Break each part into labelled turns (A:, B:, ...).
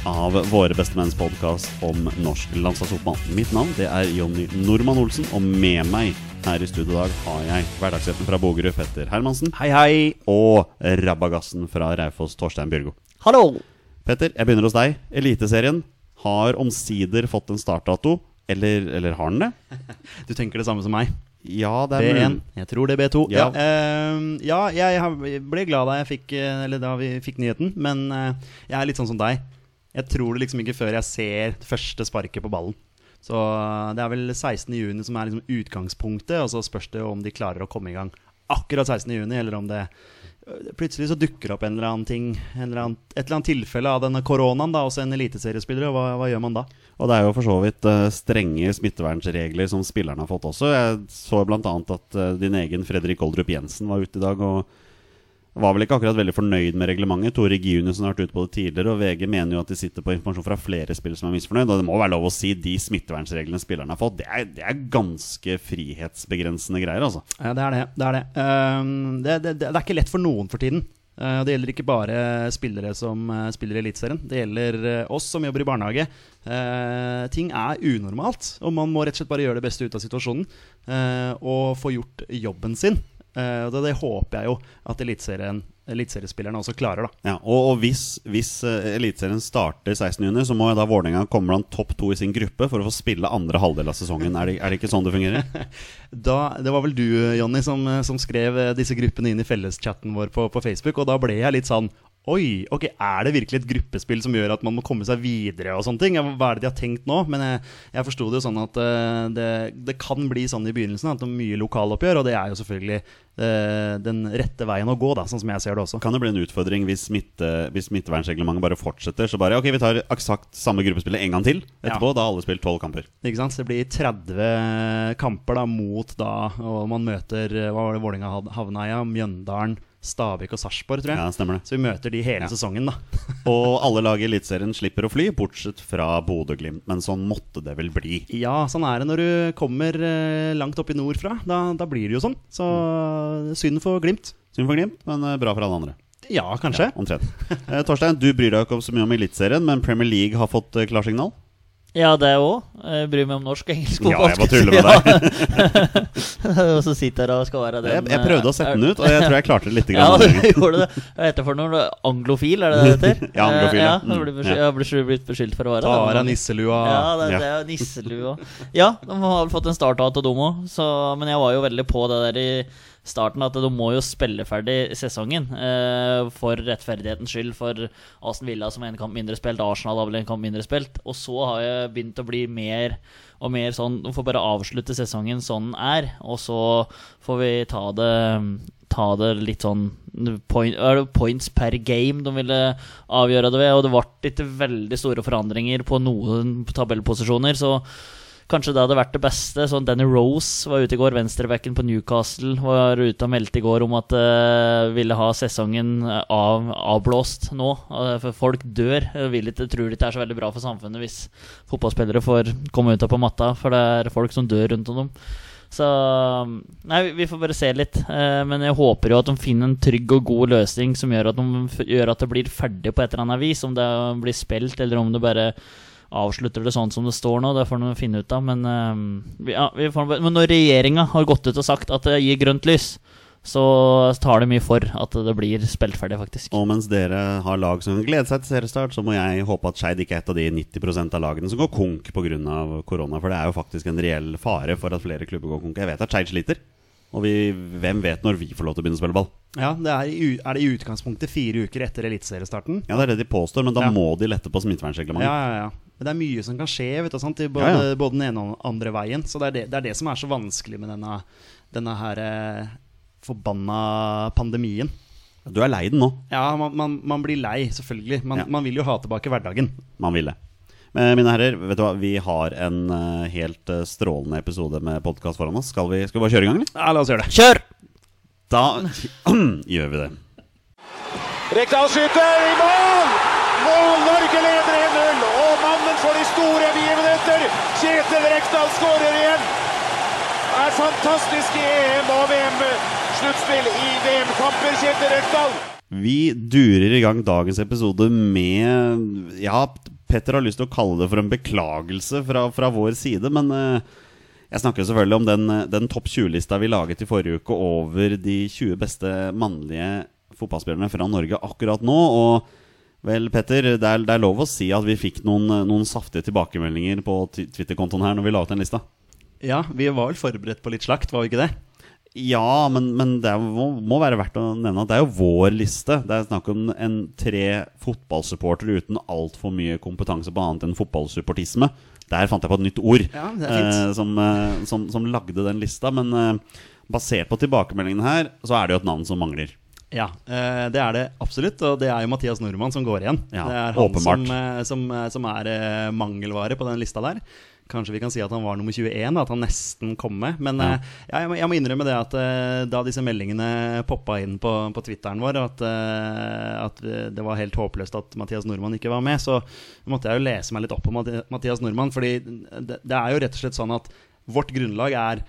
A: av Våre bestemenns podkast om norsk landslagsfotball. Mitt navn det er Jonny Normann Olsen, og med meg her i studio i dag har jeg hverdagsretten fra Bogerud, Petter Hermansen,
B: Hei, hei!
A: og rabagassen fra Raufoss, Torstein Bjørgo.
B: Hallo!
A: Petter, jeg begynner hos deg. Eliteserien har omsider fått en startdato. Eller, eller har den det?
B: Du tenker det samme som meg.
A: Ja, det er
B: B1.
A: mulig.
B: Jeg tror det er B2.
A: Mm. Ja.
B: Ja, ehm, ja jeg har- ble glad da jeg fikk eh, Eller da vi fikk nyheten, men eh, jeg er litt sånn som deg. Jeg tror det liksom ikke før jeg ser det første sparket på ballen. Så eh, det er vel 16. juni som er liksom utgangspunktet, og så spørs det jo om de klarer å komme i gang akkurat 16. juni, eller om det eh, Plutselig så dukker det opp en eller annen ting, en eller annen, et eller annet tilfelle av denne koronaen, da, også en eliteseriespiller, og hva, hva gjør man da?
A: Og det er jo for så vidt eh, strenge smittevernregler som spillerne har fått også. Jeg så bl.a. at eh, din egen Fredrik Oldrup Jensen var ute i dag og var vel ikke akkurat veldig fornøyd med reglementet. Tore Giuniussen har vært ute på det tidligere, og VG mener jo at de sitter på informasjon fra flere spillere som er misfornøyd. Og det må være lov å si de smittevernreglene spillerne har fått. Det er, det er ganske frihetsbegrensende greier, altså.
B: Ja, det er det. Det er, det. Ehm, det, det, det er ikke lett for noen for tiden. Eh, det gjelder ikke bare spillere som eh, spiller i Eliteserien. Det gjelder eh, oss som jobber i barnehage. Eh, ting er unormalt, og man må rett og slett bare gjøre det beste ut av situasjonen. eh, og få gjort jobben sin. Eh, og det, det håper jeg jo at Eliteserien- eliteseriespillerne også klarer, da.
A: Ja, og, og hvis, hvis eh, Eliteserien starter 16.6, så må jo da Vålerenga komme blant topp to i sin gruppe for å få spille andre halvdel av sesongen. Er det, er det ikke sånn det fungerer?
B: da. Det var vel du, Jonny, som, eh, som skrev eh, disse gruppene inn i felleschatten vår på, på Facebook, og da ble jeg litt sånn Oi, ok, er det virkelig et gruppespill som gjør at man må komme seg videre og sånne ting? Ja, Hva er det de har tenkt nå? Men jeg, jeg forsto det jo sånn at eh, det, det kan bli sånn i begynnelsen at det er mye lokaloppgjør, og det er jo selvfølgelig eh, den rette veien å gå, da, sånn som jeg ser det også.
A: Kan det bli en utfordring hvis, smitte, hvis smittevernreglementet bare fortsetter? Så bare ok, vi tar eksakt samme gruppespillet en gang til etterpå.
B: Ja.
A: Da har alle spilt tolv kamper.
B: Ikke sant? Så Det blir 30 kamper da mot da, og man møter eh, hva var det Vålinga havna i? ja? Mjøndalen, Stabæk og Sarpsborg, tror jeg.
A: Ja, stemmer det.
B: Så vi møter de hele
A: Ja.
B: sesongen, da.
A: Og alle lag i Eliteserien slipper å fly, bortsett fra Bodø-Glimt. Men sånn måtte det vel bli.
B: Ja, sånn er det når du kommer eh, langt opp i nord fra. Da, da blir det jo sånn. Så synd for Glimt.
A: Synd for Glimt, men eh, bra for alle andre.
B: Ja, kanskje.
A: Omtrent. Eh, Torstein, du bryr deg jo ikke om så mye om Eliteserien, men Premier League har fått eh, klarsignal.
C: Ja, det òg. Jeg bryr meg om norsk og engelsk.
A: Ja,
C: fotball,
A: jeg bare
C: skal
A: tuller med
C: jeg si. Ja. og så sitter jeg og skal være den eh,
A: Jeg, jeg prøvde å sette den ut, og jeg tror jeg klarte det litt.
C: Ja,
A: Grann.
C: du gjorde det. Hva heter det for noe? Anglofil, er det det det heter? Eh,
A: Ja, anglofil, ja.
C: ja. Jeg blir beskyldt, jeg blir blitt beskyldt for å være
B: Da
C: det.
B: er det nisselua.
C: Ja, det,
A: Ja.
C: det er jo nisselue. Ja, de har vel fått en startdato, de òg. Men jeg var jo veldig på det der i starten, at de må jo spille ferdig sesongen. Eh, for rettferdighetens skyld, for Aston Villa som har en kamp mindre spilt, Arsenal har vel en kamp mindre spilt. Og så har jeg begynt å bli mer og mer sånn De får bare avslutte sesongen sånn den er, og så får vi ta det Ta det litt sånn point, er det Points per game de ville avgjøre det ved. Og det ble ikke veldig store forandringer på noen tabellposisjoner. Så kanskje det hadde vært det beste. Sånn Danny Rose var ute i går. Venstrebacken på Newcastle var ute og meldte i går om at uh, ville ha sesongen eh, av, avblåst nå. eh, for folk dør. Jeg vil ikke, tror ikke det er så veldig bra for samfunnet hvis fotballspillere får komme ut av på matta, for det er folk som dør rundt om dem. Så um, Nei, vi- vi får bare se litt. Eh, Men jeg håper jo at de finner en trygg og god løsning som gjør at, de, f- gjør at det blir ferdig på et eller annet vis. Om det blir spilt, eller om det bare avslutter det sånn som det står nå. Det får de finne um, ut av. Men, eh, vi- ja, vi får, bare- men når regjeringa har gått ut og sagt at det gir grønt lys, så tar det mye for at det blir spilt ferdig, faktisk.
A: Og mens dere har lag som kan glede seg til seriestart, så må jeg håpe at Skeid ikke er et av de 90 av lagene som går konk pga. korona. For det er jo faktisk en reell fare for at flere klubber går konk. Jeg vet at Skeid sliter. Og vi, hvem vet når vi får lov til å begynne å spille ball?
B: Ja, det er, i u- er det i utgangspunktet fire uker etter eliteseriestarten?
A: Ja, Det er det de påstår, men da
B: Ja.
A: må de lette på
B: Ja,
A: smittevernreglementet.
B: ja, ja. Men det er mye som kan skje, vet du, sant? i Både,
A: Mm. Ja, ja.
B: både den ene og den andre veien. Så det er det, det er det som er så vanskelig med denne, denne her eh, forbanna pandemien.
A: Du er lei den nå.
B: Ja, man, man, man blir lei, selvfølgelig. Man,
A: Ja.
B: man vil jo ha tilbake hverdagen.
A: man ville. Men Eh, mine herrer, vet du hva? vi har en eh, helt eh, strålende episode med podkast foran oss. Skal vi, skal vi bare kjøre i gang, eller?
B: Ja, la oss gjøre det.
C: Kjør!
A: Da gjør vi det.
D: Rekdal skyter i mål! Mål! Norge leder 1-0. Og mannen for de store begivenheter, Kjetil Rekdal, skårer igjen. Det er fantastisk i EM og VM-sluttspill i VM-kamper, Kjetil Rekdal.
A: Vi durer i gang dagens episode med Ja, Petter har lyst til å kalle det for en beklagelse fra, fra vår side, men eh, jeg snakker selvfølgelig om den, eh, den topp 20-lista vi laget i forrige uke over de 20 beste mannlige fotballspillerne fra Norge akkurat nå. og Vel, Petter, det er, det er lov å si at vi fikk noen, noen saftige tilbakemeldinger på t- Twitter-kontoen her når vi la ut den lista.
B: Ja, vi var vel forberedt på litt slakt, var vi ikke det?
A: Ja, men, men det er, må, må være verdt å nevne at det er jo vår liste. Det er snakk om en tre fotballsupportere uten altfor mye kompetanse på annet enn fotballsupportisme. Der fant jeg på et nytt ord
B: Ja, det er fint.
A: eh, som, eh, som, som lagde den lista. Men eh, basert på tilbakemeldingene her, så er det jo et navn som mangler.
B: Ja, eh, det er det absolutt. Og det er jo Mathias Nordmann som går igjen.
A: Ja,
B: det er han
A: åpenbart.
B: Som, eh, som, eh, som er eh, mangelvare på den lista der. Kanskje vi kan si at han var nummer 21, da, at han nesten kom med. Men
A: Ja.
B: eh, ja, jeg, må, jeg må innrømme det at eh, da disse meldingene poppa inn på, på Twitteren vår, at, eh, at eh, det var helt håpløst at Mathias Nordmann ikke var med, så måtte jeg jo lese meg litt opp på Mathi- Mathias Nordmann. fordi det, det er jo rett og slett sånn at vårt grunnlag er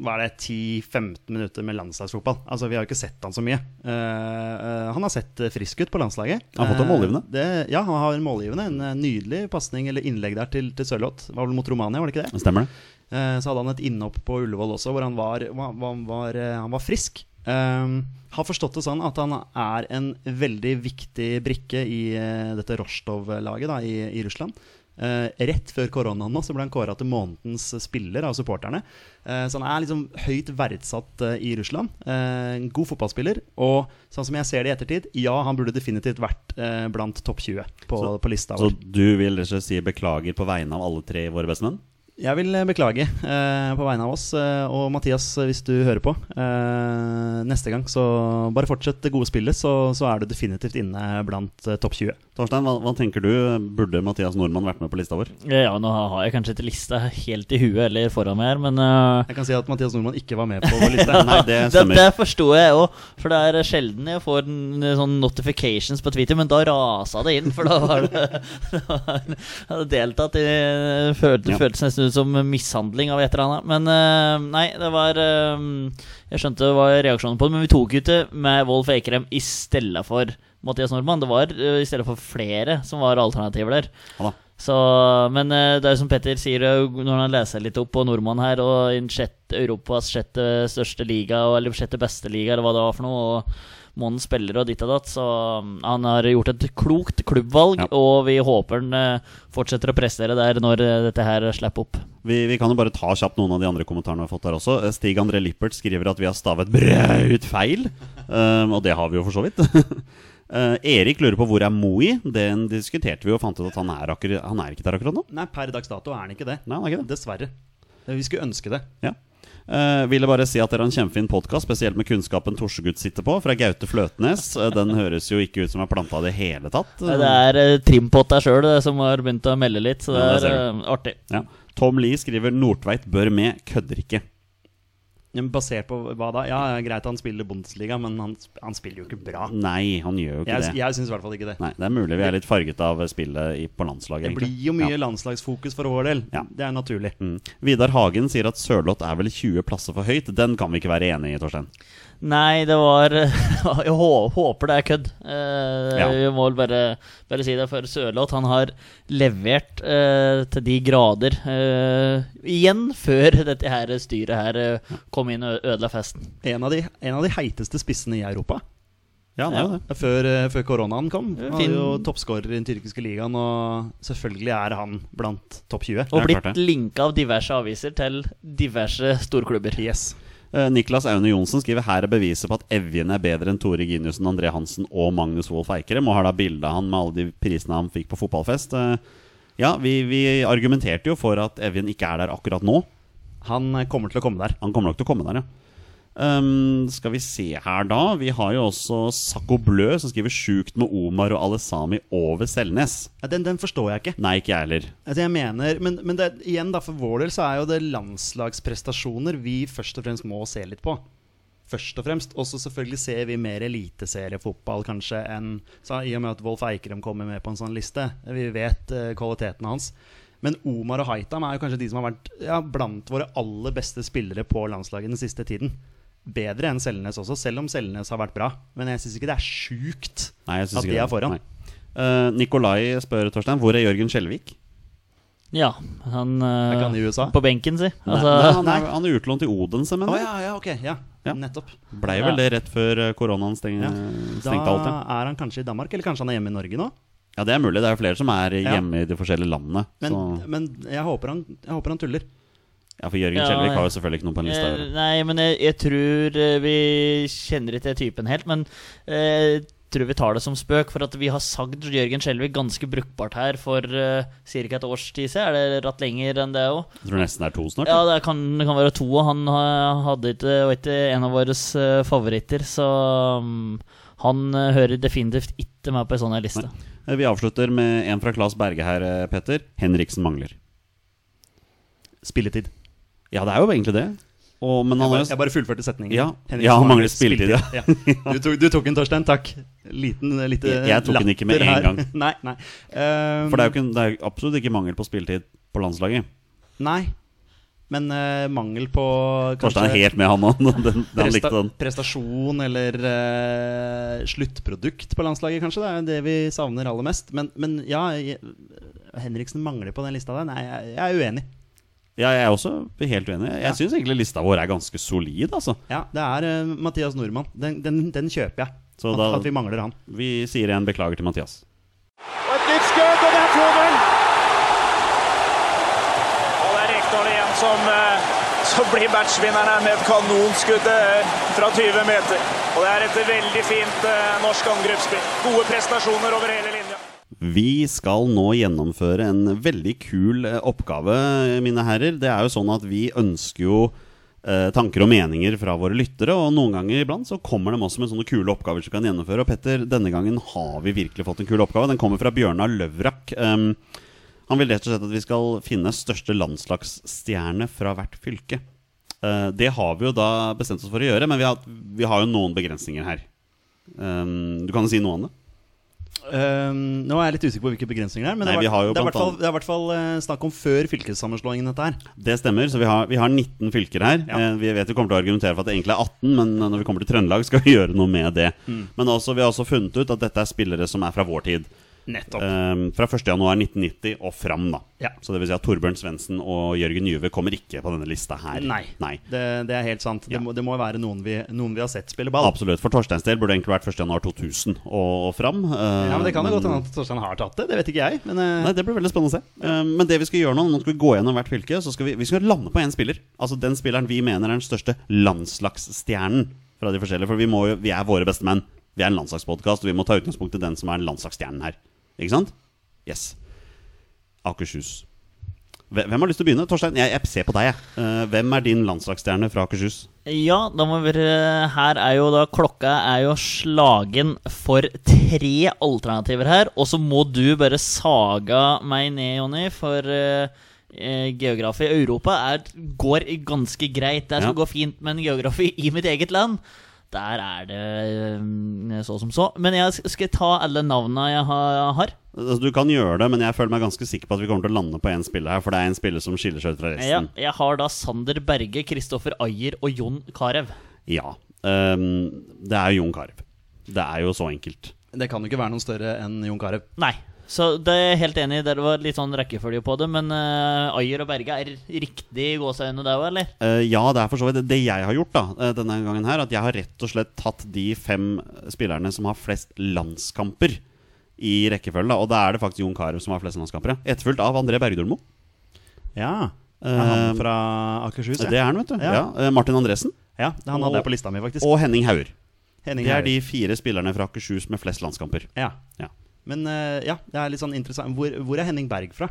B: hva er det, 10-15 minutter med landslagsfotball. Altså, Vi har jo ikke sett han så mye. Eh, eh, han har sett eh, frisk ut på landslaget.
A: Han har fått en
B: Eh,
A: målgivende.
B: det, ja, han har en målgivende. En eh, nydelig pasning eller innlegg der til, til Sørloth. Var vel mot Romania, var det ikke det?
A: Stemmer det?
B: Eh, Så hadde han et innhopp på Ullevål også, hvor han var, var, var, var, eh, han var frisk. Um, har forstått det sånn at han er en veldig viktig brikke i eh, dette Rostov-laget da, i, i Russland. Eh, rett før koronaen nå så ble han kåra til månedens spiller av supporterne. Eh, så han er liksom høyt verdsatt eh, i Russland. Eh, en god fotballspiller. Og sånn som jeg ser det i ettertid, ja, han burde definitivt vært eh, blant topp 20 på,
A: Så-
B: på lista.
A: Så
B: vår.
A: du vil rett og slett si beklager på vegne av alle tre våre bestemenn?
B: Jeg vil eh, beklage eh, på vegne av oss. Eh, og Mathias, eh, hvis du hører på, eh, neste gang så bare fortsett det gode spillet, så, så er du definitivt inne blant eh, topp 20.
A: Torstein, hva, hva tenker du? Burde Mathias Nordmann vært med på lista vår?
C: Ja, nå har jeg kanskje ikke lista helt i huet eller foran meg her, men eh,
B: Jeg kan si at Mathias Nordmann ikke var med på vår liste.
A: Nei, det
C: det,
A: stemmer.
C: det forsto jeg òg, for det er sjelden jeg får en, sånn notifications på Twitter, men da rasa det inn, for da var det det var- Jeg hadde deltatt i det følte,
A: Ja.
C: føltes nesten ut som mishandling av et eller annet. Men eh, nei, det var eh, Jeg skjønte det var reaksjonen på det, men vi tok ut det med Wolf Eikrem i stedet for Mathias Nordmann. Det var eh, i stedet for flere som var alternativer der.
A: Ja da.
C: Så, men eh, det er jo som Petter sier eh, når han leser litt opp på nordmann her, og i den sjette, Europas sjette største liga, og- eller sjette beste liga, eller hva det var for noe, og månedens spiller og ditt og datt, så mm, han har gjort et klokt klubbvalg,
A: Ja.
C: og vi håper han eh, fortsetter å prestere der når eh, dette her slipper opp.
A: Vi, vi kan jo bare ta kjapt noen av de andre kommentarene vi har fått der også. Eh, Stig André Lippert skriver at vi har stavet braut feil, um, og det har vi jo for så vidt. Eh, Erik lurer på hvor er Moi? Den diskuterte vi jo og fant ut at han er, akkur han er ikke der akkurat nå.
B: Nei, per dags dato er han ikke det.
A: Nei, han er ikke det.
B: Dessverre. Eh, Vi skulle ønske det.
A: Ja. Eh, ville bare si at dere har en kjempefin podkast, spesielt med kunnskapen Torsegutt sitter på, fra Gaute Fløtnes. Eh, den høres jo ikke ut som er planta i det hele tatt.
C: Det er eh, Trimpot der sjøl som har begynt å melde litt, så det
A: Ja, der
C: er
A: ser
C: eh, artig.
A: ja. Tom Lie skriver 'Nordtveit bør med, kødder ikke'.
B: Men Basert på hva da? Ja, ja, Greit han spiller Bundesliga, men han, sp- han spiller jo ikke bra.
A: Nei, han gjør jo ikke
B: Jeg,
A: det.
B: jeg syns i hvert fall ikke det.
A: Nei, Det er mulig vi er litt farget av spillet i, på landslaget.
B: Det
A: egentlig.
B: blir jo mye landslagsfokus for vår del.
A: Ja.
B: Det er naturlig.
A: Mm. Vidar Hagen sier at Sørloth er vel 20 plasser for høyt. Den kan vi ikke være enig i, Torstein.
C: Nei, det var Jeg hå- håper det er kødd. Eh,
A: Ja.
C: Vi må vel bare, bare si det for Sørloth. Han har levert eh, til de grader eh, igjen før dette her styret her eh, kom inn og ø- ødela festen.
B: En av de, en av de heiteste spissene i Europa
A: Ja, det er jo det.
B: før, eh, før koronaen kom. Han var
C: Finn-
B: jo toppskårer i den tyrkiske ligaen, og selvfølgelig er han blant topp 20.
C: Og
A: Ja, klart
C: blitt
A: det.
C: linka av diverse aviser til diverse storklubber.
B: Yes.
A: Eh, Niklas Aune Johnsen skriver her er beviset på at Evjen er bedre enn Tore Giniussen, André Hansen og Magnus Wolff Eikrem, og har da bilde av han med alle de prisene han fikk på fotballfest. Eh, Ja, vi, vi argumenterte jo for at Evjen ikke er der akkurat nå.
B: Han eh, kommer til å komme der.
A: Han kommer nok til å komme der, ja. Ehm, skal vi se her, da. Vi har jo også Sakko Blø, som skriver 'sjukt med Omar og Alesami over Selnes'.
B: Ja, Den, den forstår jeg ikke.
A: Nei, ikke jeg heller.
B: Altså jeg mener, Men, men det, igjen da, for vår del så er jo det landslagsprestasjoner vi først og fremst må se litt på. Først og fremst. Og så selvfølgelig ser vi mer eliteseriefotball kanskje enn så I og med at Wolf Eikrem kommer med på en sånn liste. Vi vet eh, kvaliteten hans. Men Omar og Haitam er jo kanskje de som har vært ja, blant våre aller beste spillere på landslaget den siste tiden. Bedre enn Selnes også, selv om Selnes har vært bra. Men jeg syns ikke det er sjukt
A: Nei, jeg synes
B: at
A: ikke
B: de er foran.
A: Nei. Eh, Nikolai spør Torstein hvor er Jørgen Skjelvik?
C: Ja, han, eh,
B: Er ikke han i USA?
C: På benken, si.
A: Nei,
C: Altså,
A: han, er, han er utlånt til Odense,
B: Å
A: mener jeg.
B: ja, ja, ok. Ja,
A: Ja.
B: nettopp.
A: Blei vel det rett før eh, koronaen steng,
B: Ja. Da
A: stengte alt. Ja.
B: er han kanskje i Danmark, eller kanskje han er hjemme i Norge nå.
A: ja, det er mulig. Det er jo flere som er
B: Ja.
A: hjemme i de forskjellige landene.
B: Men,
A: så,
B: men jeg, håper han, jeg håper han tuller.
A: ja, For Jørgen
C: Ja,
A: Skjelvik
C: ja.
A: har jo selvfølgelig ikke noe på en liste. å
C: eh,
A: gjøre.
C: nei, men jeg, jeg tror eh, vi kjenner ikke typen helt, men eh, tror vi tar det som spøk, for at vi har sagd Jørgen Skjelvik ganske brukbart her for eh, cirka et års tid siden. Er det rett lenger enn det òg?
A: Jeg tror nesten det er to snart.
C: Ja, det kan, det kan være to, og han eh, hadde ikke, var ikke en av våre eh, favoritter, så mm, han eh, hører definitivt ikke med på ei sånn her liste.
A: Eh, Vi avslutter med en fra Claes Berge her, eh, Petter. Henriksen mangler.
B: Spilletid.
A: Ja, det er jo egentlig det. Og, men han
B: Jeg
A: har
B: bare,
A: jo
B: jeg bare fullførte setningen.
A: Ja.
B: Henrik
A: Ja, han
B: Smarnes
A: mangler spilletid, ja.
B: Du, tok, du tok den, Torstein. Takk. Liten eh, lite
A: Jeg- jeg tok den ikke med
B: latter
A: en
B: her.
A: gang.
B: nei, nei. Ehm,
A: For det er jo ikke, det er jo absolutt ikke mangel på spilletid på landslaget.
B: Ehm, Nei. Men eh, mangel på
A: Torstein er helt med han nå. Den, den, han likte den.
B: prestasjon eller eh, sluttprodukt på landslaget, kanskje. Det er det vi savner aller mest. Men, men ja, jeg, Henriksen mangler på den lista der. Nei, jeg, jeg er uenig.
A: Ja, jeg er også helt uenig. Jeg synes syns egentlig lista vår er ganske solid, altså.
B: Ja, det er eh, Mathias Nordmann. Den, den, den kjøper jeg.
A: Så
B: at,
A: da-
B: at vi mangler han.
A: Vi sier en beklager til Mathias.
D: Og et nytt skudd, og det er 2-0! Og det er Rekdal igjen som, eh, som blir matchvinneren her med et kanonskudd eh, fra 20 meter. Og det er et veldig fint eh, norsk angrepsspill. Gode prestasjoner over hele linja.
A: Vi skal nå gjennomføre en veldig kul eh, oppgave, mine herrer. Det er jo sånn at vi ønsker jo eh, tanker og meninger fra våre lyttere, og noen ganger iblant så kommer de også med sånne kule oppgaver som vi kan gjennomføre. Og Petter, denne gangen har vi virkelig fått en kul oppgave. Den kommer fra Bjørnar Løvrak. Um, han vil rett og slett at vi skal finne største landslagsstjerne fra hvert fylke. Eh, det har vi jo da bestemt oss for å gjøre, men vi har, vi har jo noen begrensninger her. Um, du kan jo si noe om det?
B: Ehm, nå er jeg litt usikker på hvilke begrensninger det er, men
A: Nei,
B: det,
A: vi
B: er,
A: har jo
B: hvert- det, er
A: blant
B: hvert fall,
A: annet-
B: det er i hvert fall eh, snakk om før fylkessammenslåingen, dette her.
A: Det stemmer. så Vi har, vi har 19 fylker her.
B: Ja.
A: Eh, Vi vet vi kommer til å argumentere for at det egentlig er 18, men eh, når vi kommer til Trøndelag, skal vi gjøre noe med det.
B: Mm.
A: Men også, vi har også funnet ut at dette er spillere som er fra vår tid.
B: Nettopp.
A: Eh, fra 1.1.1990 og fram, da.
B: Ja.
A: Så det vil si at Torbjørn Svendsen og Jørgen Juve kommer ikke på denne lista her.
B: Nei.
A: Nei.
B: Det, det er helt sant.
A: Ja.
B: Det, må, det må jo være noen vi, noen vi har sett spille ball.
A: Absolutt. For Torsteins del burde det egentlig vært 1.1.2000 og, og fram. Eh,
B: Ja, men Det kan jo godt hende at Torstein har tatt det, det vet ikke jeg. Men eh,
A: Nei, Det blir veldig spennende å se. Eh, Men det vi skal gjøre nå, nå skal vi gå gjennom hvert fylke. Så skal vi, vi skal lande på én spiller. Altså den spilleren vi mener er den største landslagsstjernen fra de forskjellige. For vi, må jo, vi er våre beste menn. Vi er en landslagspodkast, og vi må ta utgangspunkt i den som er landslagsstjernen her. Ikke sant? Yes. Akershus. Hve- Hvem har lyst til å begynne? Torstein, jeg, jeg ser på deg, jeg. Eh, Hvem er din landslagsstjerne fra Akershus?
C: Ja, da må vi være Her er jo da Klokka er jo slagen for tre alternativer her. Og så må du bare saga meg ned, Jonny, for eh, eh, geografi i Europa er, går i ganske greit. Det skal
A: Ja.
C: gå fint, men geografi i mitt eget land der er det eh, så som så. Men jeg sk- skal ta alle navna jeg ha- jeg har.
A: Altså, Du kan gjøre det, men jeg føler meg ganske sikker på at vi kommer til å lande på én spiller her. For det er en spiller som skiller seg ut fra
C: Ja,
A: resten.
C: jeg har da Sander Berge, Kristoffer Ayer og Jon Carew.
A: Ja. ehm, det er jo Jon Carew. Det er jo så enkelt.
B: det kan jo ikke være noen større enn Jon Carew.
C: Nei. Så det er jeg helt enig i. Dere var litt sånn rekkefølge på det. Men eh, Ayer og Berge er riktig i gåseøynene der òg, eller?
A: Eh, ja, det er for så vidt det- det jeg har gjort da, eh, denne gangen her. At jeg har rett og slett tatt de fem spillerne som har flest landskamper i rekkefølge. da, Og da er det faktisk Jon Carew som har flest landskamper. ja. Etterfulgt av André Bergdølmo.
B: Ja. Er han
A: Eh,
B: fra Akershus?
A: Det er han, vet du.
B: Ja.
A: Ja. Eh, Martin Andresen.
B: Ja, han hadde jeg på lista mi, faktisk.
A: Og Henning Hauger.
B: Henning
A: Det er
B: Hauger.
A: de fire spillerne fra Akershus med flest landskamper.
B: Ja.
A: Ja.
B: Men eh, ja, det er litt sånn interessant. Hvor, hvor er Henning Berg fra?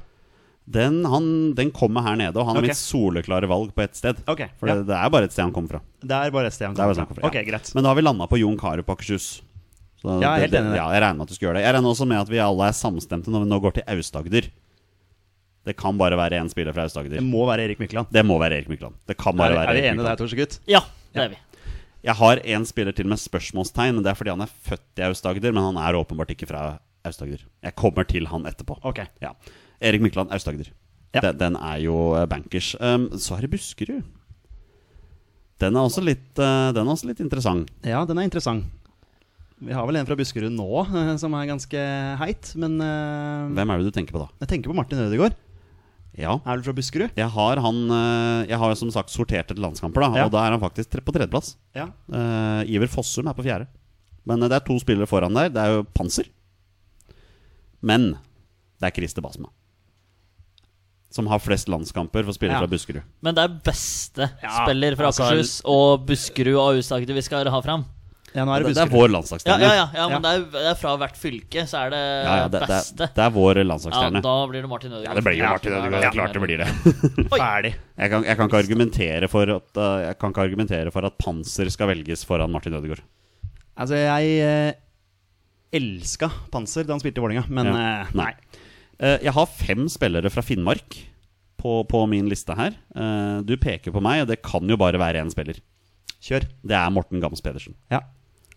A: Den, han, den kommer her nede, og han
B: Ok.
A: er mitt soleklare valg på ett sted.
B: Ok,
A: For
B: ja.
A: det, det er bare et sted han kommer fra.
B: Det er bare ST han
A: Det er
B: kommer
A: bare sånn snakk om
B: fra.
A: det,
B: Ok,
A: ja.
B: greit.
A: Men da har vi landa på Jon Carew på Akershus. Så
B: Ja, jeg er helt
A: det-
B: enig i det.
A: Ja, jeg regner med at du skulle gjøre det. Jeg regner også med at vi alle er samstemte når vi nå går til Aust-Agder. Det kan bare være én spiller fra
B: Det
A: Aust-Agder.
B: må være Erik Mykland.
A: Det må være Erik Mykland. Det kan bare
B: Er,
A: være
B: er vi
A: Erik
B: enige der,
A: Mykland.
B: Torsegutt?
C: Ja, det er vi.
A: Jeg har én spiller til med spørsmålstegn. men Det er fordi han er født i Aust-Agder, men han er åpenbart ikke fra Aust-Agder. Jeg kommer til han etterpå.
B: Ok.
A: Ja. Erik Mykland, Aust-Agder.
B: Ja.
A: Den, den er jo eh, bankers. Um, så er det Buskerud. Den er også litt, eh, den er også litt interessant.
B: Ja, den er interessant. Vi har vel en fra Buskerud nå eh, som er ganske heit, men eh,
A: Hvem er det du tenker på da?
B: jeg tenker på Martin Ødegaard.
A: Ja.
B: Er du fra Buskerud?
A: Jeg har han eh, Jeg har jo som sagt sortert etter landskamper, da,
B: Ja.
A: og da er han faktisk tre- på tredjeplass.
B: Ja.
A: Eh, Iver Fossum er på fjerde. Men eh, det er to spillere foran der. Det er jo Panser. Men det er Christer Basma. Som har flest landskamper for spillere
B: Ja.
A: fra Buskerud.
C: Men det er beste
B: Ja,
C: spiller fra
B: altså-
C: Akershus og Buskerud og Aust-Agder vi skal ha fram.
B: ja, nå er
A: Det,
B: det
A: det er
B: Buskerud.
A: vår
C: Ja,
A: landslagsstjerne.
C: ja, ja,
B: Ja.
C: ja, men det er, det er fra hvert fylke, så er det,
A: Ja, ja, det, det,
C: beste.
A: er- det er vår
C: ja,
A: landslagsstjerne.
C: da blir det Martin Ødegaard.
A: Ja, det blir jo
C: Ja,
A: Martin
C: da er
A: Ødegaard. klart det blir det.
B: Ferdig.
A: Jeg kan, jeg kan ikke argumentere for at eh, Jeg kan ikke argumentere for at Panser skal velges foran Martin Ødegaard.
B: Altså, jeg eh, elska Panser da han spilte i Vålinga, men
A: Ja.
B: eh,
A: Nei. Eh, jeg har fem spillere fra Finnmark på, på min liste her. Eh, du peker på meg, og det kan jo bare være én spiller.
B: kjør.
A: Det er Morten Gams Pedersen.
B: Ja.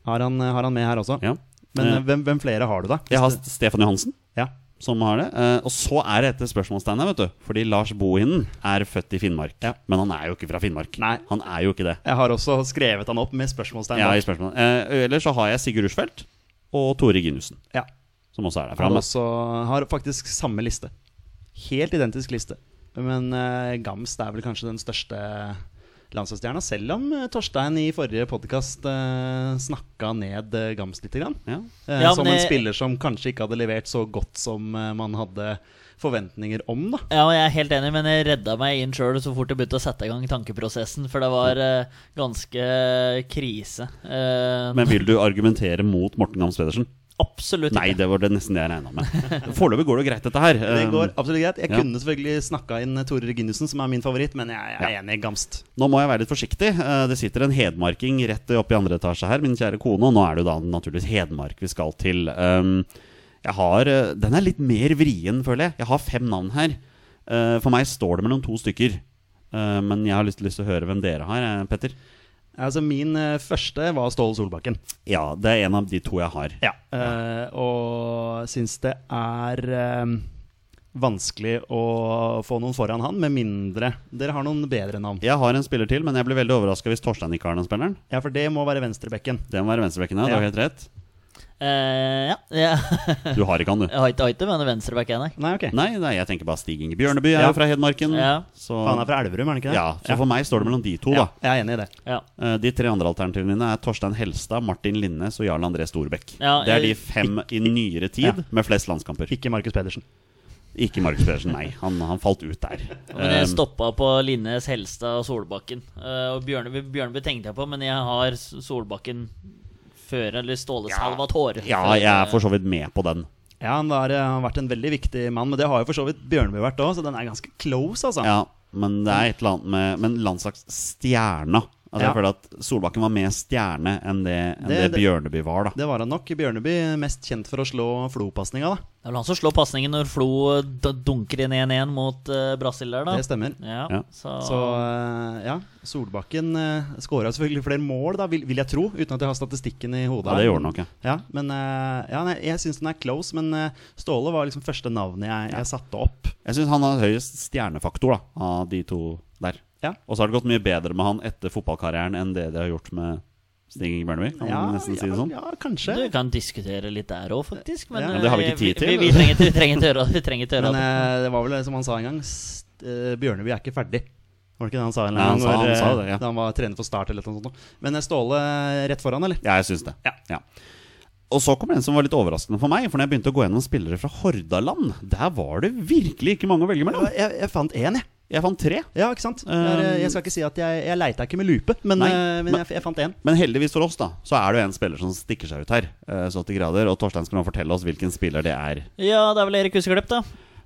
B: Har han, eh, har han med her også?
A: Ja.
B: Men
A: Eh,
B: eh, hvem, hvem flere har du, da?
A: jeg har Stefan Johansen,
B: Ja.
A: som har det. Eh, og så er det etter spørsmålstegnet, vet du. Fordi Lars Bohinen er født i Finnmark. Men han er jo ikke fra Finnmark.
B: Nei.
A: Han er jo ikke det.
B: Jeg har også skrevet han opp med spørsmålstegn.
A: Ja,
B: bak.
A: i spørsmålet. Eh, ellers så har jeg Sigurd Rushfeldt og Tore Ginussen,
B: ja.
A: som også er derfra.
B: Han
A: Men-
B: også har faktisk samme liste. Helt identisk liste. Men eh, Gams er vel kanskje den største landslagsstjerna, selv om eh, Torstein i forrige podkast uh, snakka ned eh, Gams lite grann.
A: Ja.
B: Eh,
C: Ja,
B: som
C: men
B: en
C: jeg-
B: spiller som kanskje ikke hadde levert så godt som eh, man hadde forventninger om, da.
C: Ja, og jeg er helt enig, men jeg redda meg inn sjøl så fort jeg begynte å sette i gang tankeprosessen, for det var eh, ganske krise. Eh,
A: Men vil du argumentere mot Morten Gams Pedersen?
C: absolutt
A: Nei, det var det nesten det jeg regna med. Foreløpig går det jo greit, dette her. Eh,
B: Det går absolutt greit. Jeg
A: Um, ja.
B: kunne selvfølgelig snakka inn eh, Tore Reginussen, som er min favoritt, men jeg, jeg er enig i Gamst.
A: Nå må jeg være litt forsiktig. Eh, Det sitter en hedmarking rett oppe i andre etasje her, min kjære kone. Og nå er det jo da naturligvis Hedmark vi skal til. Um, Jeg har, eh, Den er litt mer vrien, føler jeg. Jeg har fem navn her. Eh, For meg står det mellom to stykker. Eh, Men jeg har lyst, lyst til å høre hvem dere har, eh, Petter.
B: Altså, min eh, første var Ståle Solbakken.
A: Ja, det er en av de to jeg har.
B: Ja. eh, og syns det er eh, vanskelig å få noen foran han, med mindre dere har noen bedre navn.
A: Jeg har en spiller til, men jeg blir veldig overraska hvis Torstein ikke har den spilleren.
B: Ja, for det må være venstrebekken.
A: Det må være venstrebekken, ja. Du har helt rett.
C: Eh, ja, jeg
A: Du har ikke han, du.
C: jeg har ikke hatt det, men venstreback er jeg.
B: Nei, ok.
A: Nei, nei, jeg tenker bare Stig Inge Bjørneby er
B: Ja.
A: jo fra Hedmarken.
C: Ja.
A: Så,
B: Han er fra Elverum, er han ikke det?
A: ja, så for meg står det mellom de to,
B: Ja,
A: da.
B: jeg er enig i det.
C: nei. Ja.
A: Eh, De tre andre alternativene mine er Torstein Helstad, Martin Linnes og Jarl André Storbekk.
C: Ja,
A: det er de
C: jeg-
A: fem i nyere tid
B: Ja.
A: med flest landskamper.
B: Ikke Markus Pedersen.
A: Ikke Markus Pedersen, nei. Han, han falt ut der.
C: Men
A: Eh,
C: jeg stoppa på Linnes, Helstad og Solbakken. Eh, og Bjørneby, Bjørneby tenkte jeg på, men jeg har S- Solbakken før, eller Ståle Salvatore.
A: ja, jeg er for så vidt med på den.
B: Ja, han var, eh, har vært en veldig viktig mann, men det har jo for så vidt Bjørneby vært òg, så den er ganske close, altså.
A: Ja, men det er et eller annet med Men landslagsstjerna altså,
B: Ja.
A: Jeg føler at Solbakken var mer stjerne enn det, enn det,
B: Det- det-
A: Bjørneby var, da.
B: Det var han nok. Bjørneby mest kjent for å slå Flo-pasninga, da.
C: Det er vel han som slår pasningen når Flo eh, d- dunker inn 1-1 mot uh, Brasil der, da.
B: Det stemmer.
C: Ja,
A: Ja.
C: Så,
B: Så eh, ja, Solbakken uh, skåra selvfølgelig flere mål, da, vil, vil jeg tro, uten at jeg har statistikken i hodet.
A: Ja, det gjorde han nok, ja.
B: Ja, men eh, ja, nei, Jeg syns den er close, men eh, Ståle var liksom første navnet jeg, jeg satte opp.
A: Jeg syns han har høyest stjernefaktor da, av de to der.
B: Ja.
A: Og så har det gått mye bedre med han etter fotballkarrieren enn det det har gjort med Stig Bjørnevik, kan
B: Ja,
A: man nesten si det
B: ja,
A: sånn.
B: ja, kanskje.
C: Du kan diskutere litt der òg, faktisk. Men,
B: Ja,
A: det har vi
C: eh,
A: ikke tid til.
C: Vi, vi, vi trenger, vi trenger ikke gjøre det. Vi trenger ikke gjøre
B: Men
C: det.
B: eh, det var vel som han sa en gang s- eh, Bjørneby er ikke ferdig. Var det ikke det han sa? en
A: Ja, han
B: gang
A: sa-
B: når,
A: han sa
B: eh,
A: det, ja.
B: Da han var trener for Start eller noe sånt. nå. Men eh, Ståle rett foran, eller?
A: Ja, jeg syns det.
B: Ja.
A: Og så kommer den som var litt overraskende for meg. For når jeg begynte å gå gjennom spillere fra Hordaland, der var det virkelig ikke mange å velge mellom.
B: Jeg, jeg fant én, jeg.
A: Jeg fant tre.
B: Ja, ikke sant? Jeg, er, eh, jeg skal ikke si at jeg, jeg leita ikke med lupe,
A: Um,
B: men,
A: Nei,
B: eh, men
A: men-
B: jeg, jeg fant én.
A: Men heldigvis for oss, da, så er det jo en spiller som stikker seg ut her. eh, Så til grader Og Torstein skal nå fortelle oss hvilken spiller det er.
C: Ja, det er vel Erik Huseklepp, da.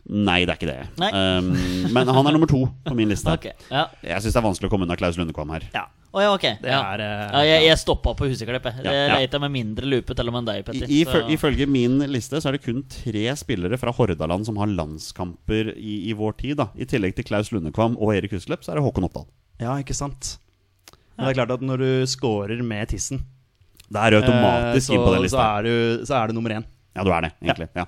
A: Nei, det er ikke det.
C: Nei.
A: Um, men han er nummer to på min liste.
C: Ok, ja.
A: Jeg syns det er vanskelig å komme unna Klaus Lundekvam her.
B: Ja.
C: Å ja, ok.
B: Det
C: ja.
B: er, eh,
C: ja, jeg jeg stoppa på Huseklepp. Jeg
A: Ja,
C: Jeg
A: ja.
C: leita med mindre lupe til og med deg,
A: I,
C: Petter.
A: ifø- ifølge min liste så er det kun tre spillere fra Hordaland som har landskamper i, i vår tid. da I tillegg til Klaus Lundekvam og Erik Husklepp, så er det Håkon Oppdal.
B: Ja, ikke sant. Men det er klart at når du scorer med tissen,
A: Det er
B: eh,
A: automatisk
B: så,
A: inn på den
B: så,
A: lista.
B: er du, så er du nummer én.
A: Ja, du er det, egentlig. Ja.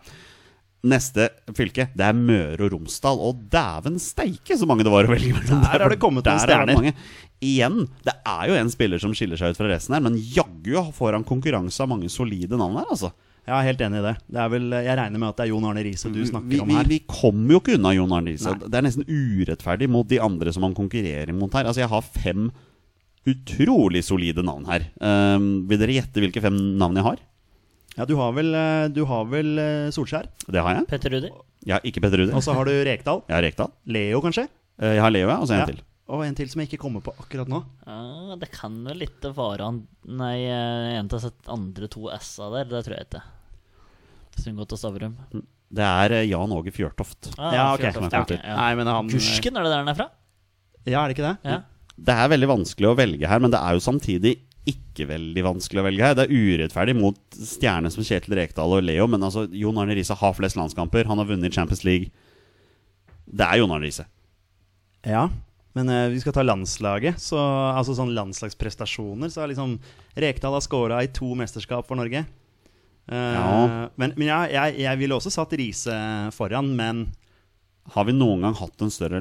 A: Neste fylke, det er Møre og Romsdal. Og dæven steike så mange det var å velge mellom.
B: Der har det
A: for
B: kommet noen
A: der er det
B: stjerner.
A: mange. Igjen, det er jo en spiller som skiller seg ut fra resten her, men jaggu får han konkurranse av mange solide navn her, altså.
B: Jeg er helt enig i det. det er vel, jeg regner med at det er Jon Arne Riise du snakker
A: Vi,
B: om
A: vi,
B: her.
A: vi kommer jo ikke unna Jon Arne Riise.
B: Nei.
A: Det er nesten urettferdig mot de andre som han konkurrerer mot her. Altså, jeg har fem utrolig solide navn her. Ehm, vil dere gjette hvilke fem navn jeg har?
B: Ja, du har vel, eh, du har vel eh, Solskjær,
A: Det har jeg.
C: Petter Rudi.
A: Jeg har ikke Petter Rudi.
B: og så har du Rekdal.
A: Jeg har Rekdal.
B: Leo, kanskje?
A: Eh, Jeg har Leo, ja. Og så en
B: Ja.
A: til.
B: Og en til som jeg ikke kommer på akkurat nå.
C: Ja, det kan jo litt være han Nei, eh, en av de andre to S-a der, det tror jeg ikke. Sundgodt og Stavrum.
A: Det er eh, Jan Åge Fjørtoft.
C: Ah,
B: Ja, ok.
C: Fjørtoft,
A: Ja,
C: ok,
A: ok.
C: ja.
B: Nei, men han
C: Gursken, er det der han er fra?
B: Ja, er det ikke det?
C: Ja.
A: Det er veldig vanskelig å velge her, men det er jo samtidig ikke veldig vanskelig å velge her. Det er urettferdig mot stjerner som Kjetil Rekdal og Leo, men altså, Jon Arne Riise har flest landskamper. Han har vunnet Champions League. Det er Jon Arne Riise.
B: Ja. Men eh, vi skal ta landslaget. Så, altså sånn landslagsprestasjoner. Så er liksom Rekdal har scora i to mesterskap for Norge. Eh,
A: Ja.
B: Men, men ja, jeg, jeg ville også satt Riise foran, men
A: Har vi noen gang hatt en større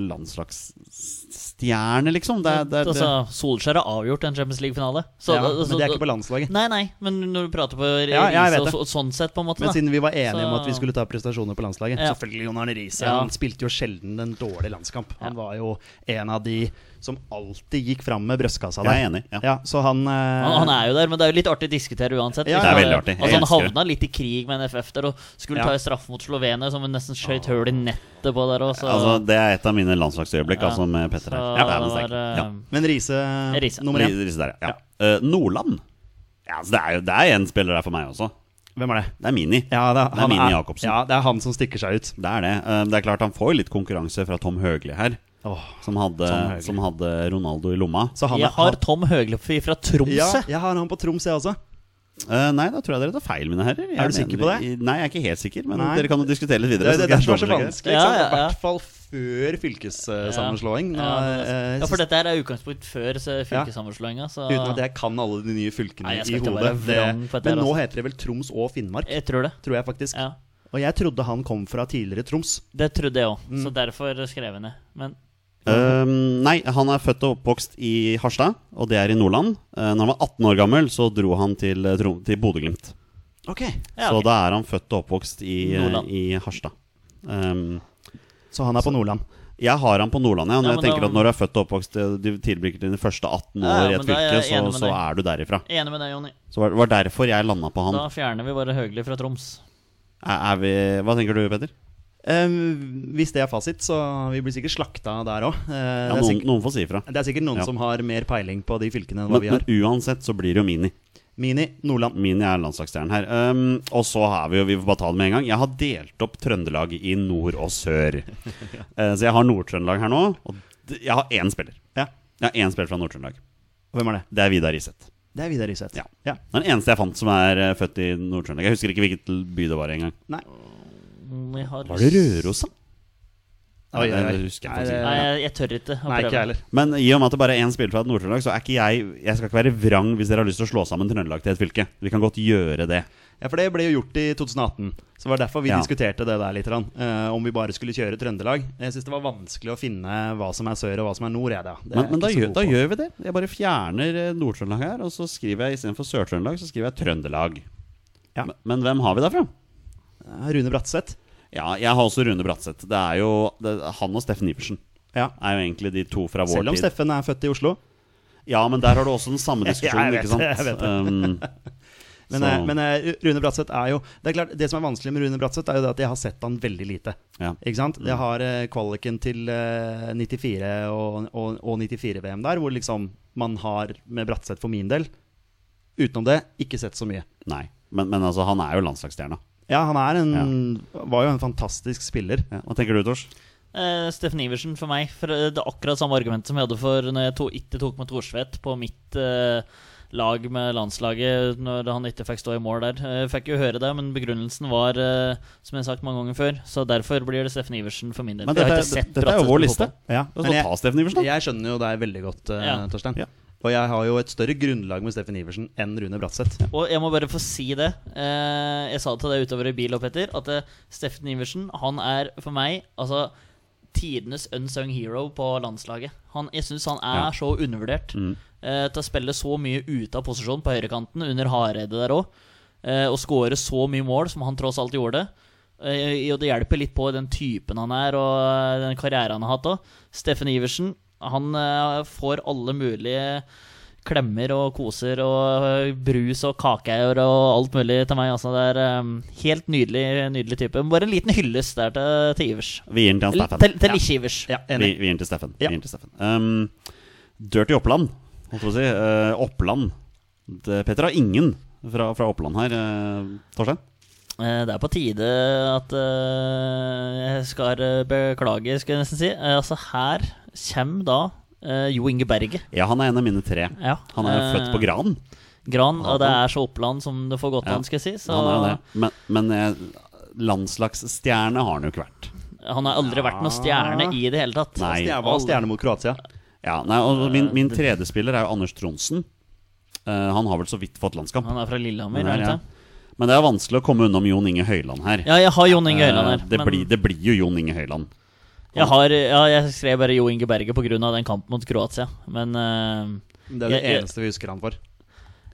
A: landslagsstjerne, liksom? Det, er- det, er-
C: altså, Solskjær har avgjort en Champions League-finale. Så-
B: ja,
C: så-
B: Men det er ikke på landslaget.
C: Nei, nei, men når du prater på
B: Ja, jeg
C: Riise
B: vet
C: og
B: det.
C: så, sånn sett, på en måte.
B: Men
C: da.
B: siden vi var enige om
C: Så-
B: at vi skulle ta prestasjoner på landslaget
C: Ja.
B: Selvfølgelig Jon Arne Riise.
C: Ja.
B: Han spilte jo sjelden en dårlig landskamp. Han
C: Ja.
B: var jo en av de som alltid gikk fram med brøstkassa der.
A: Jeg er enig, ja.
B: så han, eh,
C: Han, han er jo der, men det er jo litt artig å diskutere uansett.
B: Ja,
C: Hvis
B: det er
C: han-
A: veldig artig. Jeg
C: Altså, han
A: elsker det.
C: havna litt i krig med NFF der, og skulle
B: Ja.
C: ta en straff mot Slovenia, som han nesten skøyt hull i nettet på der òg, så
A: altså, det er et av mine landslagsøyeblikk,
C: Ja.
A: altså, med Petter her.
C: så
A: Ja, det er
C: det
A: noe
C: var,
A: sterkt. Ja.
C: eh,
B: Men Riise
C: Riise.
B: nummer én.
A: Riise der, ja. ja. Eh, Nordland. Ja, altså, det er jo det er en spiller der for meg også.
B: Hvem er det?
A: Det er Mini.
B: Ja, det er,
A: Det er Mini Jacobsen.
B: Ja, det er han som stikker seg ut.
A: Det er det. Eh, Det er klart han får jo litt konkurranse fra Tom Høgli her,
B: Åh.
A: som hadde,
B: Tom Høgli.
A: som hadde Ronaldo i lomma.
B: Så han
C: jeg
B: er-
C: har
B: han,
C: Tom Høglepfy fra Tromsø.
B: ja, jeg har han på Troms, jeg også.
A: Eh, nei, da tror jeg dere tar feil, mine herrer. Jeg
B: Er du sikker på det?
A: i- Nei, jeg er ikke helt sikker, men
B: Nei.
A: dere kan jo diskutere litt
B: Det,
A: videre.
B: er- det
A: så
B: er det
A: skal
B: som er
A: jeg
B: så
A: dobbeltsjekke
B: vanskelig.
C: Ja,
B: ikke sant? I
C: ja, ja.
B: hvert fall før fylkessammenslåing.
C: Ja,
B: Nå,
C: det er-
B: eh,
C: ja, for dette her er utgangspunkt før så fylkessammenslåinga, så
B: Uten at jeg kan alle de nye fylkene
C: Nei, jeg skal
B: i
C: ikke
B: hodet.
C: være
B: Det,
C: vrang på dette
B: men
C: her,
B: nå
C: altså.
B: heter det vel Troms og Finnmark,
C: Jeg tror det.
B: tror jeg faktisk.
C: Ja.
B: Og jeg trodde han kom fra tidligere Troms.
C: Det trodde jeg òg,
B: Mm.
C: så derfor skrev jeg ned. Men
A: Um, nei, han er født og oppvokst i Harstad, og det er i Nordland. Uh, når han var 18 år gammel, så dro han til, eh, Tro- til Bodø-Glimt.
B: Ok
C: ja,
A: Så
C: ok.
A: da er han født og oppvokst i, eh,
C: Nordland.
A: i Harstad. Um,
B: Så han er på Nordland.
A: jeg har han på Nordland, ja. Når
C: Ja,
A: jeg
C: men
A: tenker
C: da-
A: at når du er født og oppvokst, eh, du tilbringer dine første 18
C: Ja,
A: år
C: ja,
A: i et
C: men da
A: fylke,
C: er jeg
A: så,
C: enig med
A: så
C: deg.
A: er du derifra.
C: Enig med deg, Jonny.
A: Så var- var derfor jeg landa på han.
C: Da fjerner vi bare Høgli fra Troms.
A: Er, er vi, hva tenker du, Petter?
B: Ehm, hvis det er fasit, så vi blir sikkert slakta der òg.
A: Ja,
B: det, er
A: noen,
B: sikkert-
A: noen får si ifra.
B: det er sikkert noen
A: Ja.
B: som har mer peiling på de fylkene enn hva
A: Men,
B: vi
A: men
B: har.
A: uansett så blir det jo Mini.
B: Mini Nordland.
A: Mini er landslagsstjernen her. Um, og så har vi jo, vi får bare ta det med en gang, jeg har delt opp Trøndelag i nord og sør. Eh, så jeg har Nord-Trøndelag her nå, og d- jeg har én spiller.
B: Ja.
A: Jeg har én spiller fra Nord-Trøndelag.
B: Hvem er det?
A: Det er Vidar Riseth.
B: Det er Vidar Riseth.
A: Ja.
B: ja.
A: Den eneste jeg fant som er eh, født i Nord-Trøndelag. Jeg husker ikke hvilken by det var engang.
B: Nei.
C: Vi har-
A: Var det Røros, da?
B: Oi, oi, oi.
A: Det husker jeg
B: Nei,
A: faktisk
B: det-
A: ikke.
C: Nei, jeg, jeg tør ikke å
B: Nei, ikke jeg
C: prøve.
B: heller.
A: Men i og med at det bare er én spiller fra Nord-Trøndelag, så er ikke jeg Jeg skal ikke være vrang hvis dere har lyst til å slå sammen Trøndelag til et fylke. Vi kan godt gjøre det.
B: Ja, for det ble jo gjort i 2018. Så det var derfor vi
A: Ja.
B: diskuterte det der litt. grann, eh, om vi bare skulle kjøre Trøndelag. Jeg syns det var vanskelig å finne hva som er sør og hva som er nord. Jeg, da. Det er
A: Men, men da,
B: jeg ikke så
A: gjør,
B: god
A: da
B: på.
A: gjør vi det. Jeg bare fjerner eh, Nord-Trøndelag her, og så skriver jeg istedenfor Sør-Trøndelag, så skriver jeg Trøndelag.
B: Ja.
A: Men, men hvem har vi derfra?
B: Ja, Eh, Rune Bratseth.
A: Ja, jeg har også Rune Bratseth. Det er jo det, han og Steffen Iversen.
B: Ja.
A: Er jo egentlig de to fra vår
B: Selv om
A: tid.
B: Steffen er født i Oslo.
A: Ja, men der har du også den samme
B: Jeg- jeg
A: diskusjonen,
B: vet
A: ikke sant?
B: det, jeg vet
A: Um,
B: Men,
A: så,
B: eh, men eh, Rune Bratseth er jo Det er klart, det som er vanskelig med Rune Bratseth, er jo det at jeg har sett han veldig lite.
A: ja.
B: Ikke sant?
A: Mm.
B: Jeg har eh, kvaliken til eh, 94 og, og, og 94-VM der, hvor liksom man har med Bratseth for min del Utenom det, ikke sett så mye.
A: Nei. Men, men altså, han er jo landslagsstjerna.
B: Ja, han er en, var jo en fantastisk spiller.
A: Ja. Hva tenker du, Tors?
C: Eh, Steffen Iversen for meg. For eh, det er akkurat samme argument som jeg hadde for når jeg to, ikke tok med Thorsvedt på mitt eh, lag med landslaget når han ikke fikk stå i mål der. Eh, fikk jo høre det, men begrunnelsen var, eh, som jeg har sagt mange ganger før, så derfor blir det Steffen Iversen for min del.
A: Men
C: For jeg har
A: dette,
C: ikke sett
A: dette er
C: Bratseth
A: jo vår
C: på
A: liste.
C: fotball.
B: Ja,
A: La oss
B: men
A: nå
B: jeg,
A: ta Steffen Iversen, da.
B: jeg skjønner jo deg veldig godt, eh,
C: Ja.
B: Torstein.
A: Ja.
B: Og jeg har jo et større grunnlag med Steffen Iversen enn Rune Bratseth.
C: Og jeg må bare få si det. Eh, jeg sa det til deg utover i bil, og Petter, at eh, Steffen Iversen han er for meg altså tidenes unsung hero på landslaget. Han, jeg syns han er
A: Ja.
C: så undervurdert. eh, til å spille så mye ute av posisjon på høyrekanten, under Hareide der òg, eh, og skåre så mye mål som han tross alt gjorde. Eh, og det hjelper litt på den typen han er, og eh, den karrieren han har hatt òg. Steffen Iversen han eh, får alle mulige klemmer og koser og eh, brus og kakeeier og alt mulig til meg. Altså, det er eh, helt nydelig, nydelig type. Men Bare en liten hyllest der til, til Ivers.
A: Vi gir den til han
C: Eller
A: Steffen.
C: til, til ikke-Ivers.
B: Ja,
A: Vi,
B: enig.
A: vi gir den til Steffen.
B: Ja.
A: Vi gir den til Steffen. Um, Dirty Oppland, holdt jeg på å si. Eh, Oppland. Det, Petter har ingen fra, fra Oppland her, eh, Torstein.
C: Eh, Det er på tide at eh, jeg skal eh, beklage, skal jeg nesten si. Eh, altså, her kommer da eh, Jo Inge Berge.
A: Ja, han er en av mine tre.
C: Ja,
A: Han er
C: eh,
A: født på Gran.
C: Gran, og det
A: Ja.
C: er så Oppland som det får gått
A: Ja.
C: an, skal jeg si. Så
A: Han er jo det. Men, men eh, landslagsstjerne har han jo ikke vært.
C: han har aldri vært noen stjerne i det hele tatt.
A: Nei.
B: Jeg var stjerne mot Kroatia.
A: Ja, nei, og min, min tredje spiller er jo Anders Tronsen. Eh, han har vel så vidt fått landskamp.
C: Han er fra Lillehammer,
A: Men,
C: er det
A: ja.
C: ikke? det?
A: men det er vanskelig å komme unnom Jon Inge Høyland her.
C: Ja, jeg har Jon Inge Høiland her.
A: Eh, det,
C: men
A: blir, det blir jo Jon Inge Høyland.
C: jeg, har, ja, jeg skrev bare Jo Inge Berge pga. den kampen mot Kroatia, men eh,
B: Det er det
C: Jeg- jeg-
B: eneste vi husker han for.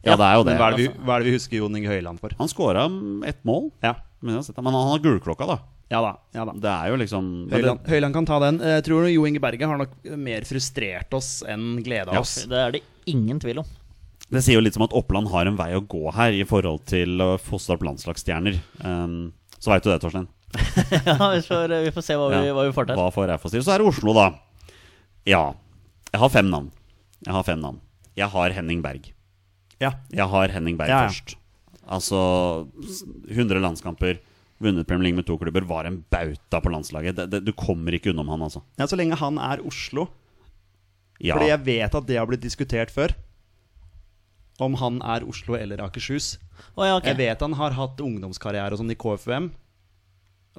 A: Ja, det er jo det.
B: Men hva er det vi, hva er det vi husker Jon Inge Høiland for?
A: Han scora mm, ett mål.
B: Ja,
A: Men, jeg har sett det. men han har gulklokka, da.
B: ja da. Ja da.
A: Det er jo liksom men det,
B: Høyland, Høyland kan ta den. Jeg tror Jo Inge Berge har nok mer frustrert oss enn gleda
A: Ja.
B: oss.
C: det er det ingen tvil om.
A: det sier jo litt som at Oppland har en vei å gå her i forhold til å fosse opp landslagsstjerner. Um, så veit du det, Torstein.
C: ja, vi får, vi får se hva vi,
A: Ja.
C: hva vi får til.
A: Hva får jeg for stil? Så er det Oslo, da. Ja. Jeg har fem navn. Jeg har fem navn. Jeg har Henning Berg.
B: Ja.
A: Jeg har Henning Berg
B: Ja, ja.
A: først. Altså 100 landskamper, vunnet Premier League med to klubber, var en bauta på landslaget. Det, det, du kommer ikke unnom han, altså.
B: ja, så lenge han er Oslo.
A: Ja.
B: Fordi jeg vet at det har blitt diskutert før. Om han er Oslo eller Akershus.
C: Å, ja, ok.
B: Jeg vet han har hatt ungdomskarriere og sånn i KFUM.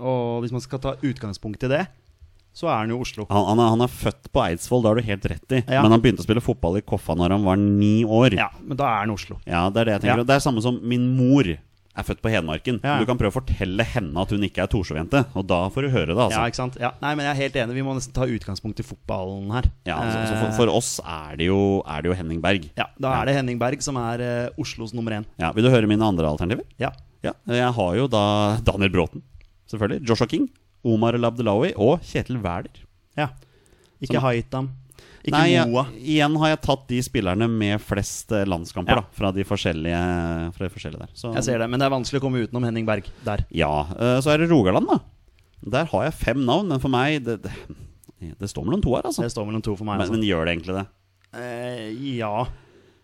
B: Og hvis man skal ta utgangspunkt i det, så er han jo Oslo.
A: Han, han, er, han er født på Eidsvoll, det har du helt rett i.
B: Ja.
A: Men han begynte å spille fotball i Koffa når han var ni år.
B: Ja, men da er han Oslo.
A: Ja, det er det jeg tenker.
B: Ja.
A: Og Det er samme som min mor er født på Hedmarken.
B: Ja.
A: Du kan prøve å fortelle henne at hun ikke er Torsjøjente, og da får du høre det,
B: Ja,
A: altså.
B: ikke sant? Ja. Nei, men jeg er helt enig. Vi må nesten ta utgangspunkt i fotballen her.
A: Ja, altså, altså for, for oss er det jo, er det jo Henning Berg.
B: Eh, ja, da er det Henning Berg som er eh, Oslos nummer én.
A: Ja, Vil du høre mine andre alternativer?
B: Ja.
A: Ja, Jeg har jo da Daniel Bråten, selvfølgelig. Joshua King. Omar El Abdelawi og Kjetil Wæler.
B: ja. Ikke
A: Som-
B: Haitam. Ikke
A: Nei, jeg,
B: Moa.
A: igjen har jeg tatt de spillerne med flest eh, landskamper,
B: Ja.
A: da. Fra de forskjellige, fra de forskjellige der. Så,
B: Jeg ser det, men det er vanskelig å komme utenom Henning Berg der.
A: Ja, eh, så er det Rogaland da Der har jeg fem navn, men for meg Det, det, det står mellom to her altså
B: Det står mellom to for meg.
A: men,
B: Altså.
A: men gjør det egentlig det?
B: Eh, ja.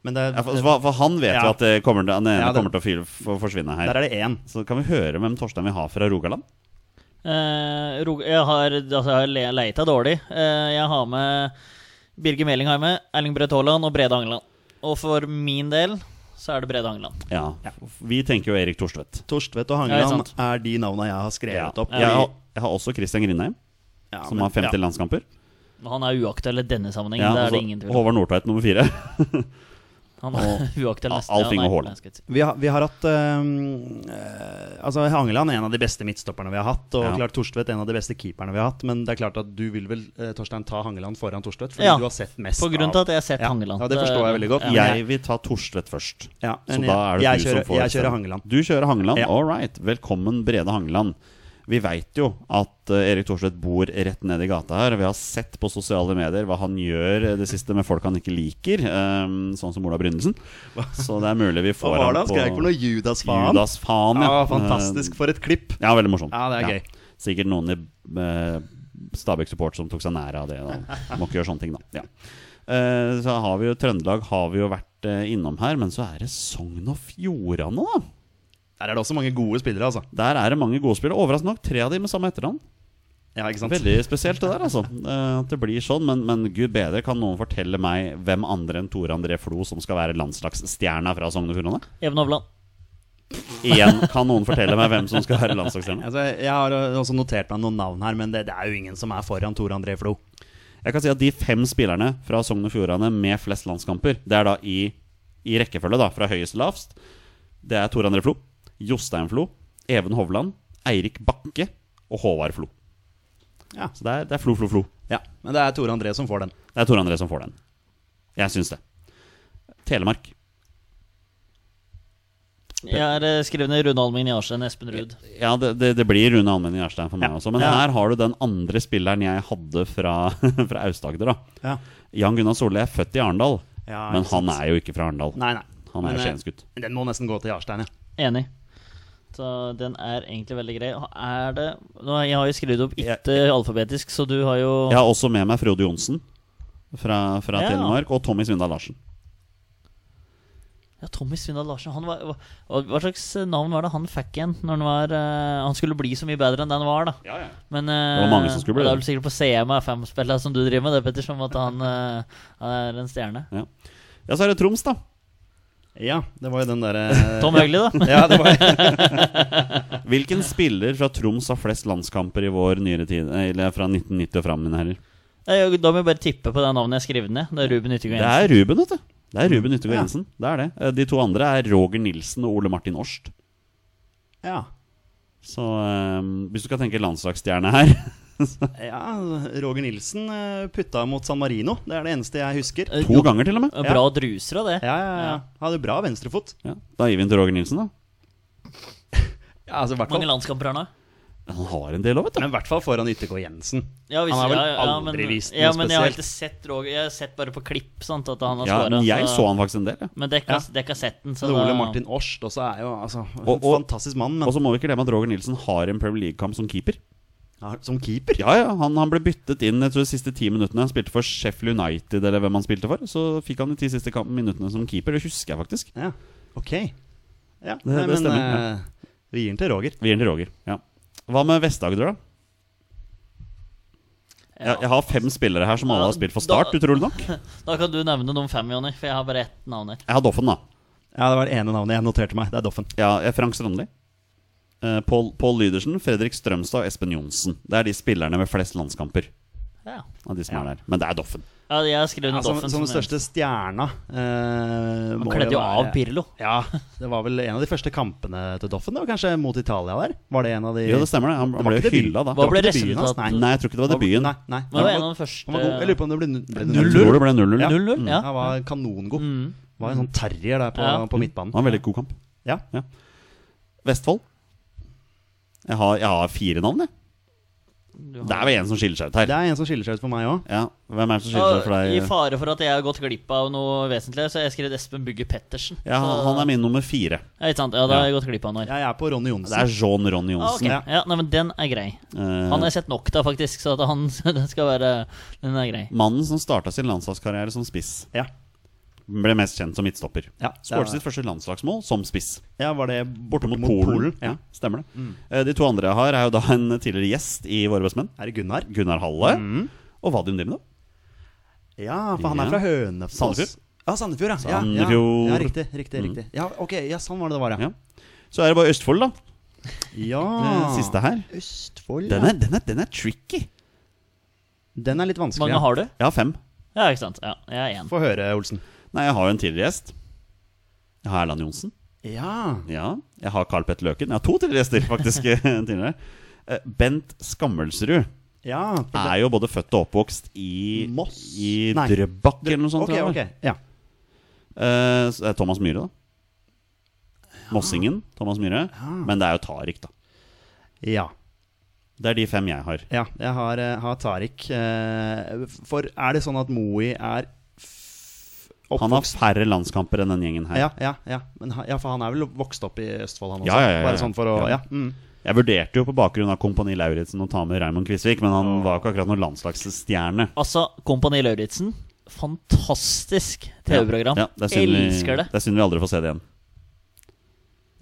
B: Men det,
A: Ja, for, altså, for, for han vet
B: Ja.
A: jo at det kommer, til- han ene
B: Ja, det-
A: kommer til å fyr, for, forsvinne her
B: der er det én.
A: Så kan vi høre hvem Torstein vi har fra Rogaland
C: Eh, Rog- jeg har, altså, jeg har le- leita dårlig. Eh, jeg har med Birger Meling har jeg med, Erling Braut Haaland og Brede Hangeland. Og for min del så er det Brede Hangeland.
A: Ja, vi tenker jo Erik Torstvedt
B: Torstvedt og
C: Ja,
B: Hangeland
C: ikke
B: er de navna jeg har skrevet
A: ja.
B: opp.
A: jeg, har, jeg har også Christian Grindheim
B: Ja,
A: Som
B: men-
A: har 50
B: ja.
A: landskamper
C: Han er uaktuell i denne sammenhengen.
A: ja, altså, og så
B: altså,
C: det er det ingen tvil om.
A: Håvard Nordtveit nummer fire
C: Han er uaktuell neste
A: Alting
C: ja, nei,
A: og Haaland.
C: jeg skal ikke si.
B: Vi har, vi har hatt ehm, eh, Altså Hangeland er en av de beste midtstopperne vi har hatt. Og
A: Ja.
B: klart Torstvedt er en av de beste keeperne vi har hatt. Men det er klart at du vil vel eh, Torstein, ta Hangeland foran Torstvedt? Fordi
C: Ja.
B: du har sett mest
C: På grunn til at jeg har sett
B: ja.
C: Hangeland.
B: Ja, det forstår jeg veldig godt.
C: Ja, men
A: Jeg vil ta Torstvedt først.
B: Ja,
A: Så
B: men
A: da er det
B: jeg,
A: du som
B: kjører,
A: får
B: Jeg kjører
A: stemme.
B: Hangeland.
A: Du kjører Hangeland,
B: Ja.
A: all right. Velkommen, Brede Hangeland. Vi veit jo at eh, Erik Thorstvedt bor rett nede i gata her. Vi har sett på sosiale medier hva han gjør eh, det siste med folk han ikke liker, eh, sånn som Ola Brynesen. Så det er mulig vi
B: Hva
A: får
B: var det
A: han
B: han
A: på
B: skreik for noe? Judas faen?
A: Judas faen,
B: ja.
A: ja.
B: fantastisk for et klipp.
A: Eh, Ja, veldig morsomt.
B: Ja, det er gøy.
A: Sikkert noen i eh, Stabæk Support som tok seg nære av det. Da. Må ikke gjøre sånne ting, da. Ja. Eh, så har vi jo Trøndelag har vi jo vært eh, innom her, men så er det Sogn og Fjordane, da.
B: Der er det også mange gode spillere, altså.
A: Der er det mange gode spillere. Overraskende nok tre av de med samme etternavn.
B: Ja, ikke sant?
A: Veldig spesielt det der, altså. Eh, At det blir sånn. Men, men gud bedre, kan noen fortelle meg hvem andre enn Tore André Flo som skal være landslagsstjerna fra Sogn og Fjordane?
C: Even Hovland.
A: Igjen, kan noen fortelle meg hvem som skal være landslagsstjerna?
B: Altså, jeg har eh, også notert meg noen navn her, men det, det er jo ingen som er foran Tor André Flo.
A: Jeg kan si at de fem spillerne fra Sogn og Fjordane med flest landskamper, det er da i, i rekkefølge, da, fra høyest til lavst, det er Tore André Flo, Jostein Flo, Even Hovland, Eirik Bakke og Håvard Flo.
B: Ja.
A: Så det er, det er Flo, Flo, Flo.
B: Ja, Men det er Tor André som får den.
A: Det er Tor André som får den. Jeg syns det. Telemark.
C: Jeg har eh, skrevet ned Rune Almin Jarstein, Espen Ruud.
A: Ja, det, det, det blir Rune Almen Gjerstein for meg
B: Ja.
A: også. Men
B: Ja.
A: her har du den andre spilleren jeg hadde fra, fra Aust-Agder. da.
B: Ja.
A: Jan Gunnar Solli er født i Arendal,
B: Ja,
A: men
B: ikke sant.
A: han er jo ikke fra Arendal.
B: Nei, nei.
A: Han er
B: Men,
A: jo
B: eh,
A: skiensgutt.
B: Den må nesten gå til Jarstein, ja.
C: Enig. Så den er egentlig veldig grei. Og Er det nå, Jeg har jo skrevet opp
A: Jeg-
C: ikke alfabetisk, så du har jo
A: Jeg har også med meg Frode Johnsen fra, fra
C: Ja.
A: Telemark, og Tommy Svindal Larsen.
C: Ja, Tommy Svindal Larsen. Han var, hva, hva slags navn var det han fikk igjen når han var eh, Han skulle bli så mye bedre enn det han var, da. Men eh,
A: Det var mange som skulle bli
C: det. er
A: det.
C: vel sikkert på CM og FM-spillet som du driver med, det, Petter, som at han, eh, han er en stjerne.
A: Ja. ja, så er det Troms, da.
B: Ja, det var jo den
A: Eh,
B: derre
C: Tom Høgli, da.
B: Ja, det var
A: Hvilken spiller fra Troms har flest landskamper i vår nyere tid? eh, Eller fra 1990 og fram, mine herrer?
C: Jeg, da må jeg bare tippe på det navnet jeg har skrevet ned. Det er Ruben Mm. Yttergård
A: Det
C: Jensen.
A: er Ruben, vet du. Det er Ruben Yttergård
B: Ja.
A: Jensen. Det er det. Eh, De to andre er Roger Nilsen og Ole Martin Årst.
B: Ja.
A: Så eh, hvis du skal tenke landslagsstjerne her
B: ja Roger Nilsen eh, putta mot San Marino. Det er det eneste jeg husker.
C: Eh,
A: To
C: jo-
A: ganger, til og med.
C: eh, Bra druser av det.
B: Ja, ja, ja. Hadde bra venstrefot.
A: Ja. Da gir vi den til Roger Nilsen, da.
B: Ja, altså, i hvert
C: Mange
B: fall.
C: landskamper her nå.
A: Han har en del òg, vet du.
B: Men i hvert fall foran YTK Jensen.
C: Ja, hvis-
B: Han har vel
C: ja, ja, ja,
B: aldri
C: men-
B: vist noe
C: ja, men Jeg har
B: spesielt.
C: ikke sett Roger Jeg har sett bare på klipp sant, at han har
A: Ja,
C: scoret,
A: men jeg
C: så-
A: så han faktisk en del. Ja.
C: Men dere har dere har sett den, så
B: Men Ole
C: da-
B: Martin Årst også er jo altså,
A: Og- og-
B: fantastisk mann, men
A: Og så må vi ikke glemme at Roger Nilsen har en Premier League-kamp som keeper.
B: ja, som keeper
A: Ja, ja, Han, han ble byttet inn jeg tror, de siste ti minuttene. Han spilte for Sheffield United, eller hvem han spilte for. Så fikk han de ti siste kamp- minuttene som keeper. Det husker jeg faktisk.
B: Ja, ok. Ja,
A: det
B: nei, men
A: stemmer, ja.
B: eh, vi gir den til Roger.
A: Vi gir den til Roger. Ja. Hva med Vest-Agder, da? Jeg, jeg har fem spillere her som alle har spilt for Start,
C: Da-
A: utrolig nok.
C: Da kan du nevne de fem, Jonny, for jeg har bare ett navn her.
A: Jeg har Doffen, da.
B: Ja, det var det ene navnet jeg noterte meg. Det er Doffen.
A: Ja, jeg er Frank Strandli. Eh, Pål Pål Lydersen, Fredrik Strømstad og Espen Johnsen. Det er de spillerne med flest landskamper.
C: Ja.
A: Av de som er der Men det er Doffen.
C: Ja, jeg har skrevet
B: Ja,
C: ja,
B: som,
C: Doffen.
B: Altså, som den
C: jeg-
B: største stjerna. eh,
C: Han
B: må
C: kledde jo
B: være-
C: av Pirlo.
B: Ja, det var vel en av de første kampene til Doffen. Det var kanskje mot Italia der? Var det en av de
A: Jo, det stemmer. det Han
B: Det
A: ble
B: var
A: jo
B: ikke debut.
A: hylla da.
C: Hva ble
B: Det var ikke debuten hans,
C: resultatet?
B: nei.
A: Nei, jeg tror ikke det var debuten.
B: Nei, nei.
C: Men det var
B: Han
C: en
B: var-
C: av de første
B: han var god. Jeg lurer på om det ble nu- ble det
A: Jeg tror det ble 0-0. Ja.
C: 0-0?
B: Ja,
C: Ja.
B: han var kanongod.
C: Mm.
B: Var en sånn terrier der på,
C: Ja.
B: på midtbanen.
A: Det var en veldig god kamp.
B: Ja.
A: Vestfold. Jeg har, jeg har fire navn, jeg.
C: Du har-
A: Det er vel en som skiller seg ut
B: Det
A: her.
B: er en som skiller seg ut for meg òg.
A: Ja, Hvem er det som skiller
C: Ja,
A: seg ut for
C: I
A: deg?
C: fare for at jeg har gått glipp av noe vesentlig, så har jeg skrevet Espen Bugge Pettersen.
A: Ja, han- han er min nummer fire.
C: Ja, ikke sant? Ja, da har jeg gått glipp av noe. Ja.
B: Jeg er på Ronny Johnsen.
A: Det er Jean Ronny
C: Ah, ok.
A: Johnsen.
C: ja. nei, men den er grei.
A: Eh,
C: Han har jeg sett nok av, faktisk, så at han den skal være Den er grei.
A: mannen som starta sin landslagskarriere som spiss.
B: Ja.
A: Ble mest kjent som midtstopper.
B: Ja, det
A: Skåret
B: er-
A: sitt første landslagsmål som spiss.
B: ja, var det
A: Borte mot,
B: mot
A: Polen.
B: Polen,
A: Ja, stemmer det. Eh, De to andre jeg har, er jo da en tidligere gjest i Våre bestemenn.
B: Er det Gunnar?
A: Gunnar Halle og Vadim Dimno.
B: Ja, for han
A: Ja.
B: er fra Hønefoss.
A: Sandefjord.
B: Ja, Sandefjord, ja. ja.
A: Sandefjord. Mm.
B: Ja, riktig, riktig, riktig. Ja, ok, ja, sånn var det det var, ja.
A: Ja. Så er det bare Østfold, da.
B: Ja,
A: Eh, Siste her.
B: Østfold,
A: Den er, den er, den er tricky.
B: Den er litt vanskelig.
C: Mange har du?
A: Jeg har fem.
C: Ja, ikke sant. Ja, jeg er én.
B: Få høre, Olsen.
A: Nei, jeg har jo en tidligere gjest. Jeg har Erland Johnsen.
B: Ja.
A: Ja, jeg har Carl Petter Løken. Jeg har to tidligere gjester, faktisk. tidligere. Eh, Bent Skammelsrud
B: ja.
A: er jo både født og oppvokst i
B: Moss?
A: I
B: Nei.
A: Drøbak eller noe sånt.
B: Ok,
A: tror jeg det
B: ok.
A: var.
B: Ja.
A: Eh, så det er Thomas Myhre, da. Mossingen. Thomas Myhre. Men det er jo Tariq, da.
B: ja.
A: Det er de fem jeg har.
B: Ja, jeg har, eh, har Tariq. eh, For er det sånn at Moe er f-
A: Han har
B: oppvokst
A: færre landskamper enn den gjengen her.
B: ja, ja, ja. Men, ha- ja, for han er vel vokst opp i Østfold, han også?
A: Ja, ja, ja, ja.
B: Bare sånn for
A: Ja.
B: å Ja. Mm.
A: Jeg vurderte jo på bakgrunn av Kompani Lauritzen å ta med Raymond Kvisvik, men han var jo ikke akkurat noen landslagsstjerne.
C: Altså, Kompani Lauritzen. Fantastisk TV-program.
A: Ja, det er synd vi-
C: Elsker det.
A: Det er synd vi aldri får se det igjen.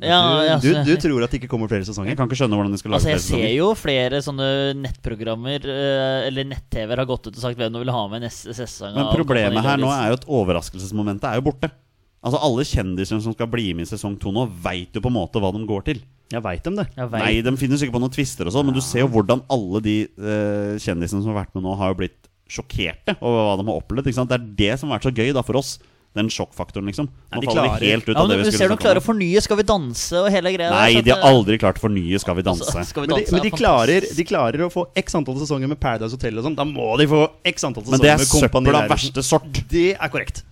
C: Ja, jeg-
B: du, du, du tror at det ikke kommer flere sesonger?
A: Jeg kan ikke skjønne hvordan de skal lage
C: Altså, jeg
A: flere
C: ser
A: sesonger.
C: jo flere sånne nettprogrammer eh, eller nett-TV-er har gått ut og sagt hvem de vil ha med neste sesong.
A: Men problemet her nå er jo at overraskelsesmomentet er jo borte. Altså Alle kjendisene som skal bli med i sesong to nå, veit jo på en måte hva de går til.
B: Jeg veit dem det.
C: jeg
A: Nei, de finner sikkert på noen twister og sånn, men du ser jo hvordan alle de eh, kjendisene som har vært med nå, har jo blitt sjokkerte over hva de har opplevd. Ikke sant? Det er det som har vært så gøy da for oss. Den sjokkfaktoren, liksom. Nå
B: de
A: faller
B: klarer-
A: vi helt ut
C: ja,
A: av det
C: men
A: vi
C: Du ser
A: skulle
C: de klarer å
A: snakke om.
C: fornye Skal vi danse og hele greia.
A: Nei,
C: der, så
A: de
C: at,
A: har
C: eh,
A: aldri klart for nye Skal vi danse.
C: altså, Skal
B: Men,
C: vi
B: de,
C: danse
B: men de,
C: er
B: klarer,
C: fantastisk.
B: de klarer å få x antall sesonger med Paradise Hotel og sånn. Da må de få x antall sesonger
A: Men det er
B: med Kompani
A: søppel av
B: Lauritzen.
A: verste sort.
B: Det er korrekt.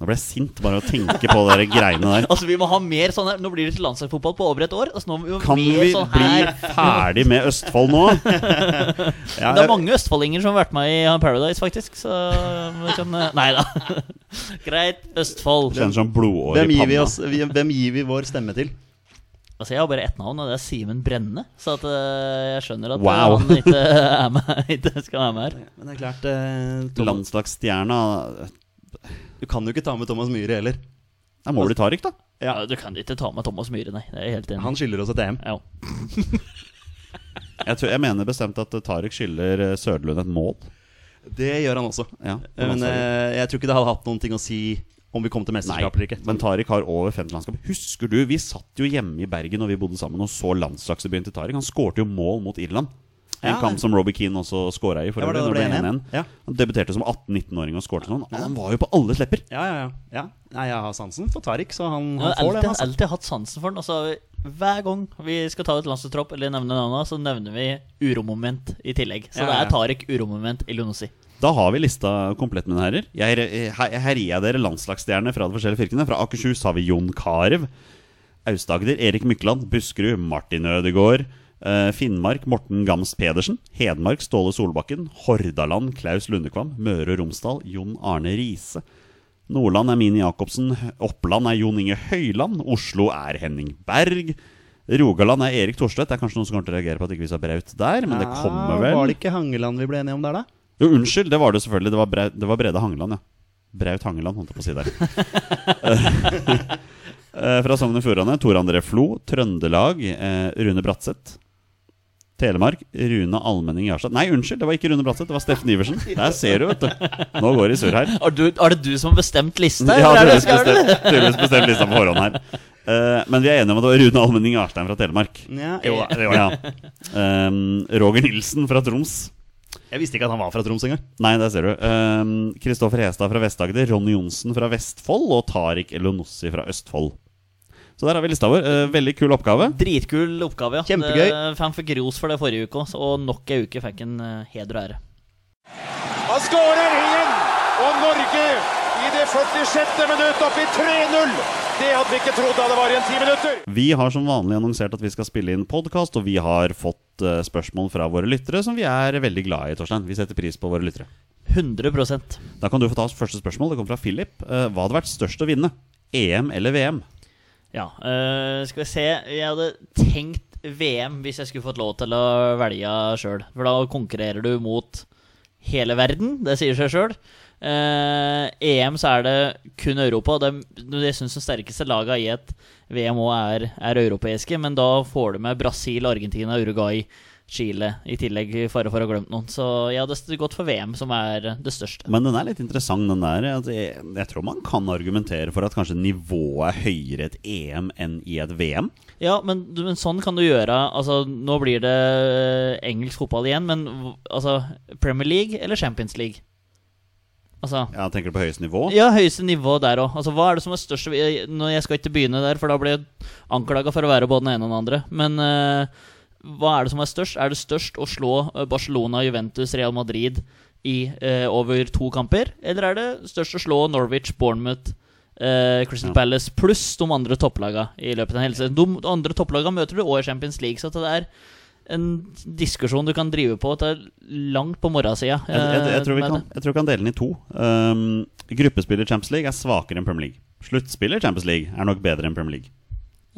A: Nå ble jeg sint bare av å tenke på de der greiene der.
C: Altså, vi må ha mer sånn her. Nå blir det til landslagsfotball på over et år. Altså, nå må vi ha
A: Kan
C: mer
A: vi
C: sånn
A: bli
C: her.
A: ferdig med Østfold nå?
B: Ja,
C: Det er
B: jeg-
C: mange østfoldinger som har vært med i eh, Paradise, faktisk. Så vi kan eh, Nei da. Greit, Østfold.
A: Kjennes som blodår i
B: hvem,
A: panna.
B: gir vi oss, vi- hvem gir vi vår stemme til?
C: Altså, jeg har bare ett navn, og det er Simen Brenne. Så at, eh, jeg skjønner at eh,
A: Wow.
C: han ikke, er med, ikke skal være med her.
B: Men det er klart eh, Thomas,
A: Landslagsstjerna
B: Du kan jo ikke ta med Thomas Myhre heller.
A: Da må det bli Tariq, da.
C: Ja. Du kan ikke ta med Thomas Myhre, nei. Det er jeg helt enig. i.
B: Han skylder oss et EM.
C: Ja.
A: Jeg, tror, jeg mener bestemt at eh, Tariq skylder eh, Søderlund et mål.
B: Det gjør han også.
A: Ja, på
B: Men
A: landslaget.
B: eh, jeg tror ikke det hadde hatt noen ting å si om vi kom til
A: Nei,
B: mesterskap eller ikke.
A: men Tariq har over 50 landskap. Husker du, vi satt jo hjemme i Bergen og vi bodde sammen og så landslagsdebuten til Tariq. Han skårte jo mål mot Irland. En
B: Ja, det-
A: kamp som Robbie Keane også skåra i. For
B: Ja, var det
A: øvrig,
B: det ble
A: når det ble
B: 1-1?
A: 1-1.
B: Ja.
A: Han debuterte som 18-19-åring og skårte noen. Han var jo på alles lepper!
B: Ja, ja, ja. ja. Nei, jeg har sansen for Tariq, så han, han
C: Jeg har
B: får
C: alltid,
B: den. Altså.
C: alltid hatt sansen for den. Og så har vi, hver gang vi skal ta ut landslagstropp eller nevne navnet, så nevner vi uromoment i tillegg. Så
B: Ja,
C: det
B: ja, ja.
C: er Tariq uromoment Ilionossi.
A: Da har vi lista komplett, mine herrer. Jeg eh, her- her- herja dere landslagsstjerner fra de forskjellige fylkene. Fra Akershus har vi Jon Carew. Aust-Agder Erik Mykland. Buskerud Martin Ødegaard. eh, Finnmark Morten Gams Pedersen. Hedmark Ståle Solbakken. Hordaland Klaus Lundekvam. Møre og Romsdal Jon Arne Riise. Nordland er Mini Jacobsen. Oppland er Jon Inge Høyland. Oslo er Henning Berg. Rogaland er Erik Thorstvedt. Det er kanskje noen som kommer til å reagere på at ikke vi sa Braut der, men det kommer vel.
B: Ja, Ah, var det ikke Hangeland vi ble enige om der, da?
A: Jo, unnskyld, det var det selvfølgelig. Det var, Brau- det var Brede Hangeland, ja. Braut Hangeland, holdt jeg på å si der. Eh, Fra Sogn og Fjordane, Tor André Flo. Trøndelag, eh, Rune Bratseth. Telemark, Rune Almenning Jarstad. Nei, unnskyld, det var ikke Rune Bratseth, det var Steffen Iversen. Der ser du, vet du. Nå går det i surr her.
C: Er, du, er det du som har bestemt lista?
A: Ja,
C: eller er det
A: tydeligvis
C: jeg skal gjøre det?
A: bestemt, tydeligvis bestemt lista på forhånd her. Eh, Men vi er enige om at det var Rune Almenning Jarstein fra Telemark.
B: Ja,
A: Jo,
B: jeg,
A: det var det. Ja. Um, Roger Nilsen fra Troms.
B: jeg visste ikke at han var fra Troms engang.
A: Nei, der ser du. Ehm, Kristoffer Hestad fra Vest-Agder, Ronny Johnsen fra Vestfold og Tariq Elonossi fra Østfold. Så der har vi lista vår. Eh, veldig kul oppgave.
C: Dritkul oppgave, ja.
B: Kjempegøy.
C: Det- Han fikk ros for det forrige uke også, og nok ei uke fikk han eh, heder og ære.
D: Han skårer igjen! Og Norge i det 46. minutt opp i 3-0! Det hadde vi ikke trodd da det var igjen ti minutter.
A: Vi har som vanlig annonsert at vi skal spille inn podkast, og vi har fått eh, spørsmål fra våre lyttere som vi er veldig glad i, Torstein. Vi setter pris på våre lyttere.
C: 100
A: Da kan du få ta oss første spørsmål. Det kommer fra Philip. Eh, hva hadde vært størst å vinne? EM eller VM?
C: Ja, øh, skal vi se Jeg hadde tenkt VM hvis jeg skulle fått lov til å velge sjøl. For da konkurrerer du mot hele verden, det sier seg sjøl. EM så er det kun Europa. Det, jeg syns de sterkeste laga i et VM òg er, er europeiske, men da får du med Brasil, Argentina, Uruguay, Chile i tillegg, i fare for å ha glemt noen. Så jeg hadde gått for VM, som er det største.
A: Men den er litt interessant, den der. At jeg, jeg tror man kan argumentere for at kanskje nivået er høyere i et EM enn i et VM.
C: Ja, men, du- men sånn kan du gjøre. Altså, nå blir det eh, engelsk fotball igjen, men hv- altså, Premier League eller Champions League? Altså
A: Ja, tenker du på høyeste nivå?
C: ja, høyeste nivå der òg. Altså, hva er det som er størst jeg, nå- Jeg skal ikke begynne der, for da blir jeg anklaga for å være både den ene og den andre. Men eh, hva er det som er størst? Er det størst å slå eh, Barcelona, Juventus, Real Madrid i eh, over to kamper? Eller er det størst å slå Norwich, Bournemouth, eh, Crystal
A: Ja.
C: Palace pluss de andre topplagene i løpet av en helse? De andre topplagene møter du òg i Champions League, så at det er en diskusjon du kan drive på til langt på morgensida.
A: Jeg, jeg, jeg,
C: eh,
A: tror vi
C: med
A: kan,
C: det.
A: jeg tror vi kan dele den i to. Um, gruppespill i Champions League er svakere enn Premier League. Sluttspill i Champions League er nok bedre enn Premier League.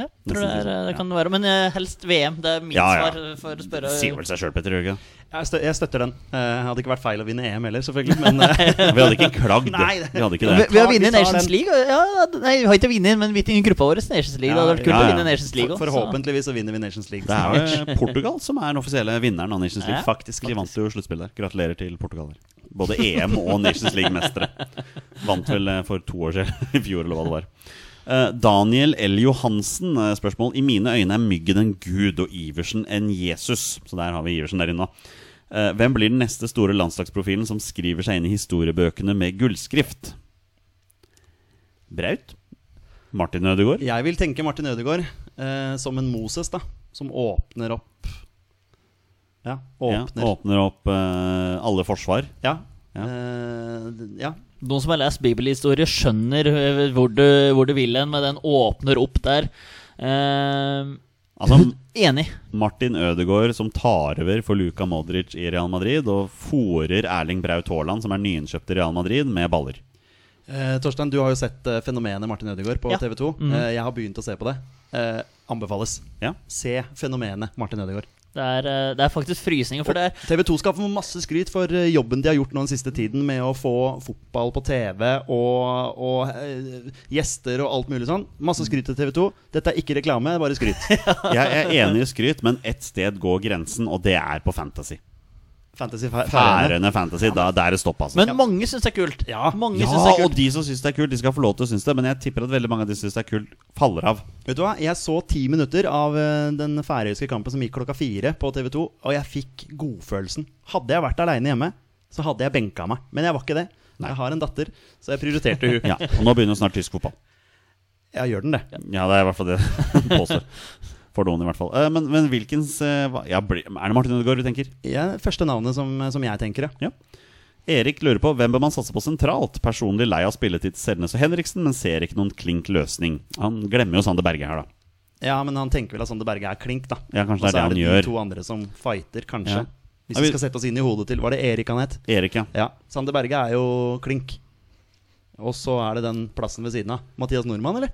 C: Ja, tror det,
A: Nesten
C: er,
A: sånn,
C: det
A: ja.
C: kan det være. Men eh, helst VM. Det er mitt
A: Ja, ja.
C: svar for å spørre.
A: Det sier vel seg sjøl, Petter. gjør det ikke?
B: Jeg, stø jeg støtter den. Eh, hadde ikke vært feil å vinne EM heller, selvfølgelig. Men eh,
A: Vi hadde ikke klagd.
B: Nei, det-
A: Vi hadde ikke
C: Vi,
A: det.
C: vi har vunnet
B: Vi tar
C: Nations
B: den.
C: League. og- Ja, nei, vi har ikke vunnet, men vi i gruppa vår er Nations League. det hadde vært kult
A: Ja,
C: å
A: ja.
C: vinne Nations League også,
B: for,
C: så-
B: forhåpentligvis så vinner vi Nations League.
A: Det er jo Portugal som er den offisielle vinneren av Nations League.
C: Ja,
A: faktisk. De vant jo sluttspillet der. Gratulerer til Portugal. der. Både EM og Nations League-mestere. Vant vel eh, for to år siden, i fjor eller hva det var. Eh, Daniel L. Johansen, eh, spørsmål. I mine øyne er Myggen en gud og Iversen en Jesus. Så der har vi Iversen der inne. Eh, Hvem blir den neste store landslagsprofilen som skriver seg inn i historiebøkene med gullskrift? Braut? Martin Ødegaard?
B: Jeg vil tenke Martin Ødegaard eh, som en Moses, da. Som åpner opp Ja,
A: Ja,
B: åpner.
A: åpner opp eh, alle forsvar.
B: Ja.
A: Ja.
B: Eh, d- ja.
C: Noen som har lest bibelhistorie, skjønner eh, hvor du, hvor du vil hen, men den åpner opp der. Eh,
A: Altså,
C: enig.
A: Martin Ødegaard som tar over for Luka Modric i Real Madrid, og fòrer Erling Braut Haaland, som er nyinnkjøpt i Real Madrid, med baller.
B: Eh, Torstein, du har jo sett eh, fenomenet Martin Ødegaard på
C: Ja.
B: TV 2. Eh, jeg har begynt å se på det. Eh, anbefales.
A: Ja.
B: Se fenomenet Martin Ødegaard.
C: Det er, eh, det er faktisk frysninger, for det er
B: TV 2 skal få masse skryt for eh, jobben de har gjort nå den siste tiden med å få fotball på TV og, og eh, gjester og alt mulig sånn. Masse skryt til TV 2. Dette er ikke reklame, det er bare skryt.
A: Jeg er enig i skryt, men ett sted går grensen, og det er på Fantasy.
B: Fantasy Fær- Færøyene.
A: Færende Fantasy, da, der er det stopp, altså.
C: Men mange syns det er kult. Ja, mange
A: ja,
C: synes det er
A: og
C: kult.
A: de som syns det er kult, de skal få lov til å synes det, men jeg tipper at veldig mange av de som syns det er kult, faller av.
B: Vet du hva? Jeg så ti minutter av eh, den færøyske kampen som gikk klokka fire på TV 2, og jeg fikk godfølelsen. Hadde jeg vært aleine hjemme, så hadde jeg benka meg. Men jeg var ikke det. Jeg har en datter, så jeg prioriterte hun.
A: Ja, og nå begynner snart tysk fotball.
B: Ja, gjør den det.
A: Ja, det er i hvert fall det jeg påstår. For noen, i hvert fall. Eh, Men, men hvilkens eh, hva- ja, blir- Er det Martin Ødegaard du tenker?
B: Ja, første navnet som, som jeg tenker, ja.
A: Erik lurer på hvem bør man satse på sentralt. Personlig lei av spilletid til Selnes og Henriksen, men ser ikke noen klink løsning. Han glemmer jo Sander Berge her, da.
B: Ja, men han tenker vel at Sander Berge er klink, da.
A: Ja, kanskje det er
B: Og så
A: det
B: er
A: han
B: det
A: gjør.
B: de to andre som fighter, kanskje.
A: Ja.
B: Hvis
A: Ja,
B: vi
A: vi-
B: skal sette oss inn i hodet til Var det Erik han het?
A: Erik, ja.
B: Ja. Sander Berge er jo klink. Og så er det den plassen ved siden av. Mathias Nordmann, eller?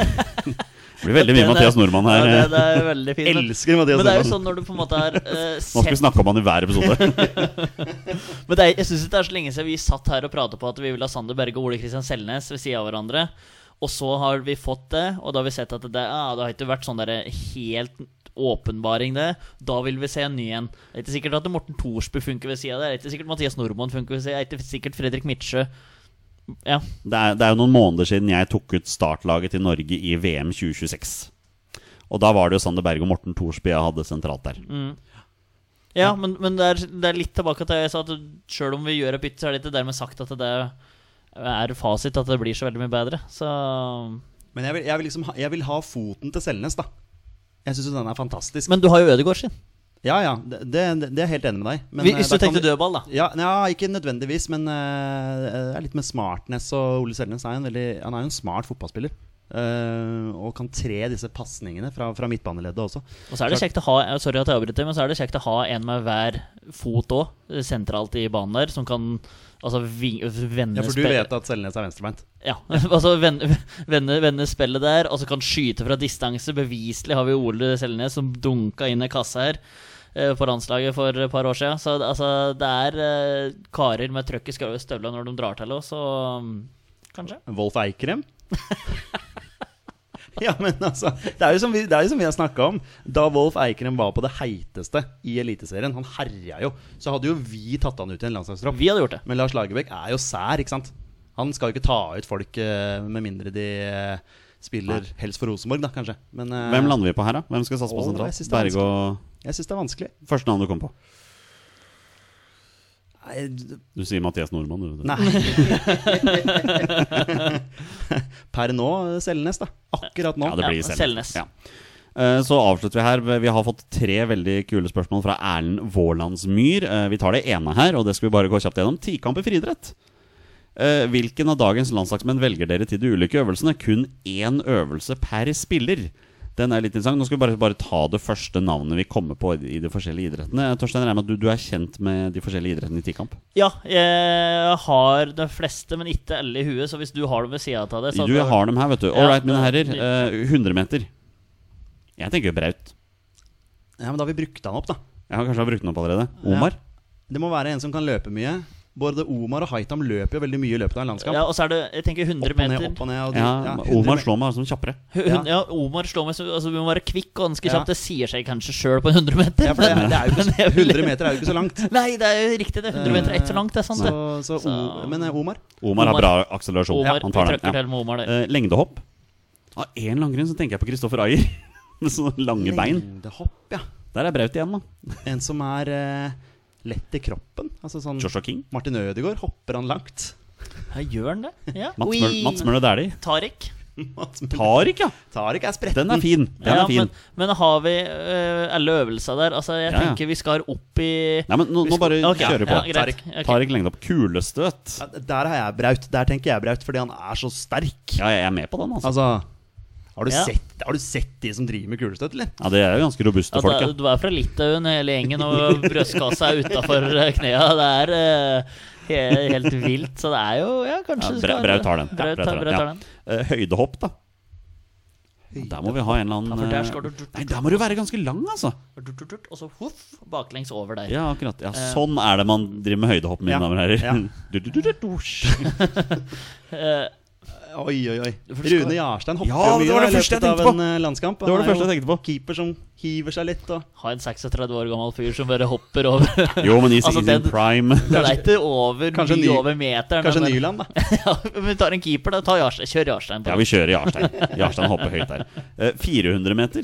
A: Det blir veldig mye
C: Den er-
A: Mathias Nordmann her.
C: Ja, det, det er veldig fint. men-
B: Elsker Mathias
C: Men det er jo
B: Nordmann.
C: sånn når du på en måte har eh,
A: Nå skal vi
C: sett
A: snakke om han i hver episode.
C: Men det er, jeg synes ikke det er så lenge siden vi satt her og pratet på at vi ville ha Sander Berge og Ole Kristian Selnes ved siden av hverandre. Og så har vi fått det, og da har vi sett at det, ah, det har ikke vært sånn der helt åpenbaring, det. Da vil vi se en ny en. Det er ikke sikkert at Morten Thorsby funker ved siden av det. Det er ikke sikkert Mathias Nordmann funker ved siden av det. Det er ikke sikkert Fredrik Midtsjø. Ja.
A: Det er, det er jo noen måneder siden jeg tok ut startlaget til Norge i VM 2026. Og da var det jo Sander Berge og Morten Thorsby jeg hadde sentralt der.
C: Ja, men, men det, er, det er litt tilbake til det jeg sa, at sjøl om vi gjør et bytte, så er det ikke dermed sagt at det er fasit at det blir så veldig mye bedre. Så
B: Men jeg vil, jeg, vil liksom ha, jeg vil ha foten til Selnes, da. Jeg syns den er fantastisk.
C: Men du har jo Ødegaard sin.
B: ja, ja, det, det, det er jeg helt enig med deg i. Men, eh,
C: Hvis du
B: da kan
C: tenkte
B: vi-
C: dødball, da.
B: Ja, nja, ikke nødvendigvis, men eh, det er litt med smartness. Og Ole Selnes er jo en, veldig, han er jo en smart fotballspiller. eh, og kan tre disse pasningene fra, fra midtbaneleddet også.
C: Og så er det kjekt å ha Sorry at jeg avbryter, men så er det kjekt å ha en med hver fot òg, sentralt i banen der, som kan altså vi- vende
B: Ja, For du
C: spill-
B: vet at Selnes er venstrebeint?
C: Ja, altså vende, vende, vende spillet der, og så kan skyte fra distanse. Beviselig har vi Ole Selnes som dunka inn i kassa her eh, på landslaget for et par år siden. Så det- altså, det er eh, karer med trøkk i skau- støvla når de drar til oss, så mm, kanskje.
B: Wolf Eikrem? ja, men altså Det er jo som vi, det er jo som vi har snakka om. Da Wolf Eikrem var på det heiteste i Eliteserien, han herja jo, så hadde jo vi tatt han ut i en landslagstropp.
C: Vi hadde gjort det.
B: Men Lars Lagerbäck er jo sær, ikke sant? Han skal jo ikke ta ut folk eh, med mindre de eh, spiller helst for Rosenborg, da, kanskje. Men eh,
A: Hvem lander vi på her, da? Hvem skal satse på
B: Å, jeg
A: sentralt?
B: synes det er
A: Berge og
B: jeg syns det er vanskelig.
A: Første navn du kom på.
B: Nei, d-
A: Du sier Mathias Nordmann, du. vet det.
B: Nei. per nå eh, Selnes, da. Akkurat nå.
A: Ja, det blir
C: Ja,
A: Selnes.
C: Selnes.
A: Ja. Eh, Så avslutter vi her. Vi har fått tre veldig kule spørsmål fra Erlend Vårlandsmyr. Eh, Vi tar det ene her, og det skal vi bare gå kjapt gjennom. Tikamp i friidrett. Eh, Hvilken av dagens landslagsmenn velger dere til de ulike øvelsene? Kun én øvelse per spiller. Den er litt interessant. Nå skal vi bare, bare ta det første navnet vi kommer på i de forskjellige idrettene. Eh, Torstein, jeg regner med at du, du er kjent med de forskjellige idrettene i tikamp?
C: Ja, jeg har de fleste, men ikke alle i huet, så hvis du har det ved sida av det så
A: Du jeg har dem her, vet du. All
C: Ja,
A: right, mine herrer.
C: det-
A: eh, 100 meter. Jeg tenker Braut.
B: Ja, men da har vi brukt han opp, da.
A: Jeg har kanskje har brukt den opp allerede. Omar?
B: Det må være en som kan løpe mye. Både Omar og Haitam løper jo veldig mye i løpet av en landskamp.
C: Ja, og så er det jeg tenker 100
B: opp og ned,
C: meter.
B: opp og ned. Og
A: Ja, Omar
B: 100
A: slår meg som kjappere.
C: Hun, ja, Omar slår meg som altså, Vi må være kvikk og ganske
B: Ja.
C: kjapt. Det sier seg kanskje sjøl på 100 meter.
B: Ja, for det, det er jo
C: men
B: ikke, så-
C: jeg vil-
B: 100 meter er jo ikke så langt.
C: Nei, det er jo riktig. det 100
A: Eh,
C: meter er ett så langt. Det er sant,
B: Så,
C: det.
B: så,
C: Så-
B: O- men eh, Omar
A: Omar har
C: Omar.
A: bra akselerasjon. han
C: Omar, vi
A: tar
C: trøkker
A: den. Ja.
C: til med Omar der.
A: Eh, lengdehopp. Av én lang grunn så tenker jeg på Kristoffer Ayer. Med sånne lange bein.
B: Lengdehopp, ja.
A: Der er Braut igjen, da.
B: En som er eh, lett i kroppen. Altså sånn
A: Joshua King.
B: Martin Ødegaard, hopper han langt?
C: Ja, gjør han det? Ja.
A: Mats,
C: Oi.
A: Møl Mats Møller Dæhlie.
C: Tarek.
A: Tarik, ja!
B: Tariq er spretten.
A: Den er fin. Den
C: Ja,
A: er fin.
C: men, men har vi eh, alle øvelser der? Altså, jeg
A: Ja, ja.
C: tenker vi skal opp i
A: Nei, men nå, nå bare
C: Ok,
A: kjører vi på.
C: Ja, greit.
A: Tarik,
C: Ok.
A: Tarik lengdehopp. Kulestøt.
B: Ja, Der har jeg Braut. Der tenker jeg Braut, fordi han er så sterk.
A: Ja, jeg er med på den, altså.
B: Altså har du,
C: Ja.
B: sett, har du sett de som driver med kulestøt, eller?
A: Ja, Det er jo ganske robuste
C: Ja,
A: folk,
C: da,
A: ja.
C: du er fra Litauen, hele gjengen, og brystkassa er utafor knea. Det er eh, he- helt vilt, så det er jo Ja,
A: ja
C: kanskje du
A: Bra-
C: skal-
A: Braut tar den. Ja,
C: Braut tar-
A: Braut
C: Braut
A: tar
C: tar
A: den. Eh, Høydehopp, da. Der må vi ha en eller
C: Ja,
A: annen
C: for der skal
A: eh,
C: du-
A: Nei, der må du være ganske lang, altså.
C: Tut, tut, tut, Og så huff, baklengs over der.
A: Ja, akkurat. Ja, sånn er det man driver med høydehopp, mine
B: Ja,
A: damer og herrer.
B: ja.
A: Du, du, du, du, dusj.
C: Eh,
B: Oi, oi, oi.
C: For det skal-
B: Rune Jarstein hopper
A: Ja,
B: jo mye
A: det var det
B: da, i
A: første jeg
B: løpet av
A: tenkte på.
B: en eh, landskamp.
A: Det var
B: Han
A: det
B: er
A: første jeg
B: jo
A: tenkte på.
B: Keeper som hiver seg litt og
C: ha en 36 år gammel fyr som bare hopper over.
A: Jo, men is
C: Altså,
A: is in
C: den-
A: prime.
C: Det er ikke over,
B: Kanskje
C: mye
B: ny-
C: over meteren.
B: Kanskje
C: men-
B: Nyland, da.
C: ja, men vi tar en keeper, da. Ta Jarstein, kjør Jarstein. på.
A: Ja, vi kjører Jarstein. Jarstein hopper høyt der. Eh, 400 meter.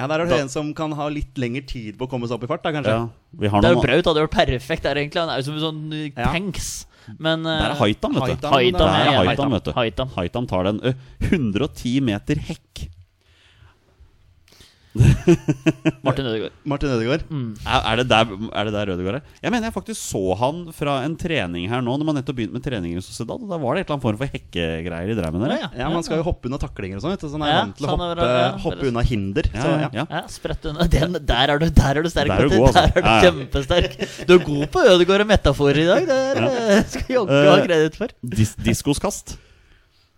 B: Ja, Der er det en som kan ha litt lengre tid på å komme seg opp i fart, da, kanskje.
A: Ja, vi har
C: det er jo
A: noen
C: Braut hadde vært perfekt der, egentlig. Han er jo som en sånn eh,
B: Ja.
C: tanks. Men eh,
A: Der er Haitam, vet du.
B: Haitam.
C: Haitam,
A: Der er
C: ja, ja,
A: Haitam, vet du.
C: Haitam.
A: Haitam tar den. Eh, 110 meter hekk.
C: Martin Ødegaard.
B: Martin Ødegaard.
A: Er er det der, er det der Rødegård er? Jeg mener jeg faktisk så han fra en trening her nå, når man nettopp begynte med trening i Sociedad. og Da var det et eller annet form for hekkegreier de drev med der. ja.
B: Ja, Man skal jo hoppe unna taklinger og sånn, vet du, så han er
C: Ja,
B: vant til å
C: så han
B: hoppe,
C: er bra, ja.
B: hoppe unna hinder. Så,
A: Ja,
B: ja.
A: ja.
C: Ja, spredt unna. Den, der, er du, der er du sterk.
A: Der er du
C: Petter.
A: god, altså.
C: Der er du
A: Ja, ja.
C: kjempesterk. Du er god på Ødegaard og metaforer i dag. Det er, eh, skal jogge ha
A: Eh,
C: kreditt for.
A: Dis Diskoskast.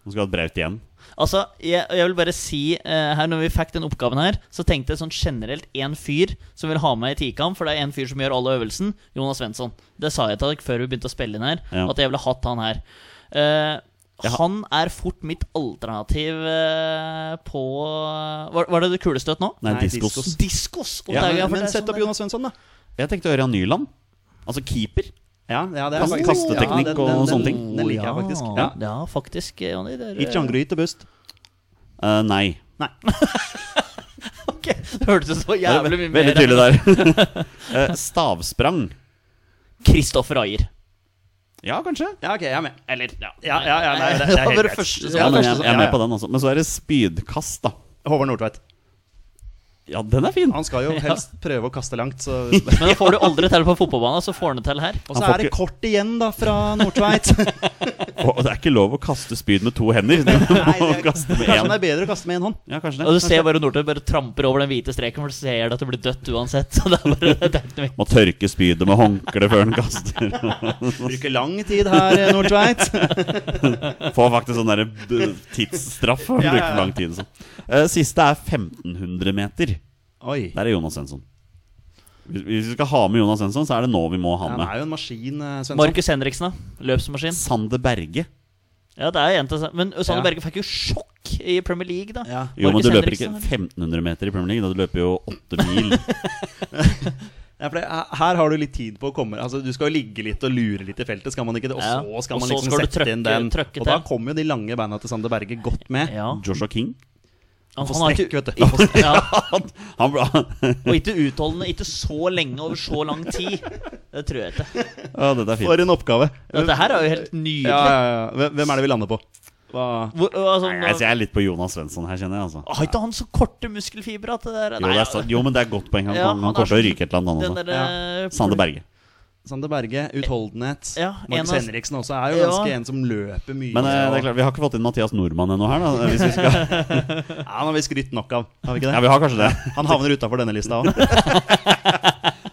A: Nå skal vi ha et braut igjen.
C: Altså, jeg, jeg vil bare si eh, her Når vi fikk den oppgaven her, så tenkte jeg sånn generelt én fyr som vil ha med i Tikamp, for det er én fyr som gjør alle øvelsen. Jonas Svensson. Det sa jeg til dere før vi begynte å spille inn her,
A: Ja.
C: at jeg ville hatt han her. Eh, han er fort mitt alternativ eh, på var, var det det kulestøt nå?
A: Nei,
B: Nei,
A: diskos.
B: diskos.
C: Diskos! Og
A: Ja,
C: det er jo-
B: Men,
C: for det
B: men
C: er
B: sett
C: sånn
B: opp Jonas Svensson, da.
A: Jeg tenkte Ørjan Nyland. Altså keeper.
B: Ja, ja, det er
A: Kaste-
B: faktisk-
A: kasteteknikk
B: den-
A: og
B: den-
A: sånne
B: den-
A: ting.
B: Den liker jeg faktisk.
C: Ja,
B: Ja.
C: ja faktisk. eh, Jonny, det er-
B: Ikke angryte bust.
A: Eh, nei.
B: Nei.
C: Ok, Det hørtes ut som det var
A: Det er
C: jævlig mye
A: ve-
C: mer.
A: Veldig tydelig der. Eh, Stavsprang.
C: Kristoffer Ayer.
A: Ja, kanskje.
B: Ja, ok, jeg er med.
C: Eller ja.
B: Ja, ja, ja, nei, det, det er
C: var
B: helt
C: det
B: greit.
C: første som-
A: Ja, men
B: det
A: jeg,
B: første som-
A: jeg er
B: ja,
A: med
B: ja.
A: på den også. Men så er det spydkast, da.
B: Håvard Nordtveit.
A: Ja, den er fin.
B: Han skal jo helst prøve å kaste langt, så
C: Men da får du aldri til på fotballbanen, så får han det til her.
B: Og så
A: Han får
B: er det
A: ikke-
B: kort igjen, da, fra Nordtveit.
A: Og det er ikke lov å kaste spyd med to hender. Du må
B: Nei, det er-
A: kaste med
B: Kanskje han
A: én.
B: er bedre å kaste med én hånd.
A: Ja, kanskje
C: Og du
A: det.
C: ser bare Nordtvedt bare tramper over den hvite streken, for du ser at det blir dødt uansett. Så det er bare det er ikke noe
A: Må tørke spydet med håndkle før den kaster.
B: Bruker lang tid her, eh, Nordtveit.
A: Får faktisk sånn derre b- tidsstraff. Han
B: Ja, ja,
A: bruker
B: ja.
A: for lang tid. Så. Eh, Siste er 1500 meter.
B: Oi.
A: Der er Jonas Svensson. Hvis hvis vi skal ha med Jonas Svensson, så er det nå vi må ha
B: Han
A: med.
B: er jo en maskin, eh, Svensson.
C: Markus Henriksen, da. Løpsmaskin.
A: Sander Berge.
C: Ja, det er en til Men Sanne
B: Ja.
C: Berge fikk jo sjokk i Premier League, da.
B: Ja.
A: Jo, men
C: Markus
A: du løper ikke
C: Henriksen,
A: 1500 meter i Premier League. Da du løper jo åtte mil.
B: Ja, for det, her har du litt tid på å komme Altså, Du skal jo ligge litt og lure litt i feltet, skal man ikke det? Og
C: Ja.
B: så skal
C: Og
B: man
C: så
B: liksom
C: skal du
B: sette inn
C: trøkke-
B: den.
C: trøkke
B: og da
C: til.
B: kommer jo de lange beina til Sander Berge godt med.
C: Ja.
A: Joshua King.
C: Han,
B: får
C: har
B: strekk, vet du.
C: ikke-
B: Han får strekk.
C: Ja,
A: Han, han, ble-
C: og ikke utholdende, ikke så lenge over så lang tid. Det tror jeg ikke.
A: ja, dette er fint.
B: For en oppgave.
C: Dette her er jo
B: ja, ja,
C: helt nydelig.
B: ja. Hvem- Hvem er det vi lander på? Hva?
C: Hvor, altså,
A: Nei, altså, jeg er litt på Jonas Svensson her, kjenner jeg. Altså.
C: har ikke han så korte muskelfibre at det der
A: Jo, det er, sant. jo, men det er godt poeng. Han,
C: altså. Ja,
A: han, han
C: er
A: kommer til å
C: så-
A: ryke et eller annet, han
C: den
A: også.
C: der, eh,
A: Sande Berge.
B: Sander Berge, utholdenhet.
C: Ja,
B: Markus
C: en av-
B: Henriksen også er jo
C: Ja.
B: ganske en som løper mye.
A: Men eh,
B: og-
A: det er klart, vi har ikke fått inn Mathias Nordmann ennå her, da. Hvis vi skal.
B: Ja, Han har vi skrytt nok av. Har vi ikke
A: Ja,
B: det?
A: vi har kanskje det.
B: Han havner utafor denne lista òg.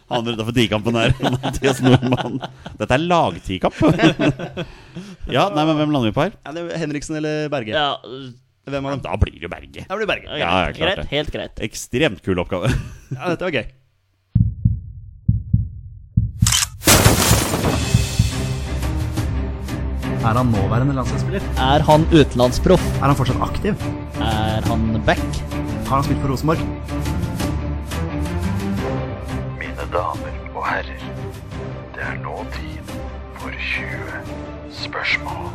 A: Han er utenfor tikampen her. Mathias Nordmann. Dette er lagtikamp. Ja, nei, men hvem lander vi på her?
B: Henriksen eller Berge?
C: Ja,
B: Hvem av dem?
A: Da blir det jo Berge.
B: Det blir Berge.
C: greit,
A: Ja, ja, klart
C: greit,
A: det.
C: helt greit.
A: Ekstremt kul oppgave.
B: Ja, dette var gøy.
E: Er han nåværende landslagsspiller?
C: Er han utenlandsproff?
E: Er han fortsatt aktiv?
C: Er han back?
E: Har han spilt for Rosenborg?
F: Mine damer og herrer, det er nå tid for 20 spørsmål.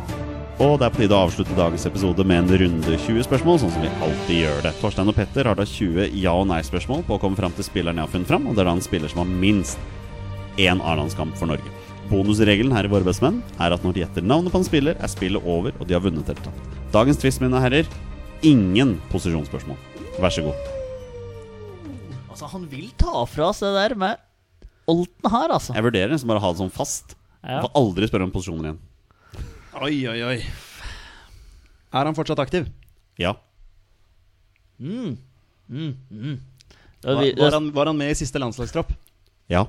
A: Og det er på tide å avslutte dagens episode med en runde 20 spørsmål, sånn som vi alltid gjør det. Torstein og Petter har da 20 ja- og nei-spørsmål på å komme fram til spilleren jeg har funnet fram, og det er da en spiller som har minst én A-landskamp for Norge. Bonusregelen her i Våre bestemenn er at når de gjetter navnet på en spiller, er spillet over, og de har vunnet eller tapt. Dagens twist, mine herrer, ingen posisjonsspørsmål. Vær så god.
C: Altså, han vil ta fra oss det der med Olten her, altså.
A: Jeg vurderer nesten bare å ha det sånn fast.
C: Ja.
A: Får aldri spørre om posisjoner igjen.
B: Oi, oi, oi. Er han fortsatt aktiv?
A: Ja.
C: Da
B: Var,
C: vi-
B: var, han, var han med i siste landslagstropp?
A: Ja.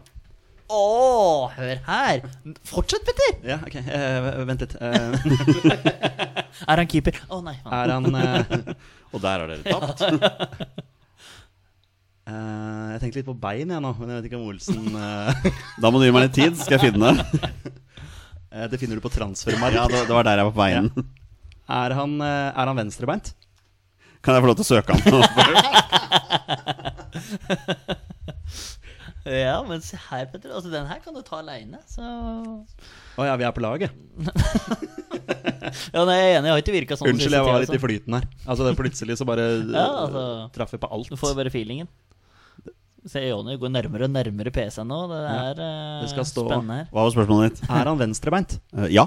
C: Å, hør her! Fortsett, Petter!
B: Ja, ok. eh, vent litt. Eh,
C: Er han keeper? Å, nei. faen.
B: er han eh,
A: Og der har dere tapt.
B: eh, Jeg tenkte litt på bein, jeg nå. Men jeg vet ikke om Olsen eh,
A: Da må du gi meg litt tid, skal jeg finne det.
B: eh, Det finner du på transfermark.
A: Ja, det det var der jeg var på veien.
B: Er han, eh, er han venstrebeint?
A: Kan jeg få lov til å søke han nå?
C: Ja, men se her, Petter. Altså, den her kan du ta aleine, så
B: Å ja, vi er på laget.
C: Ja, nei, jeg er enig. Jeg har ikke virka sånn.
B: Unnskyld, jeg var litt i flyten her. Altså, det er Plutselig så bare eh,
C: Ja, altså.
B: traff vi på alt.
C: Du får jo bare feelingen. Se, Jonny går nærmere og nærmere PC-en nå. Det
B: Ja,
C: er eh,
B: det skal stå.
C: spennende her.
A: Hva var spørsmålet ditt?
B: Er han venstrebeint?
A: Eh, ja.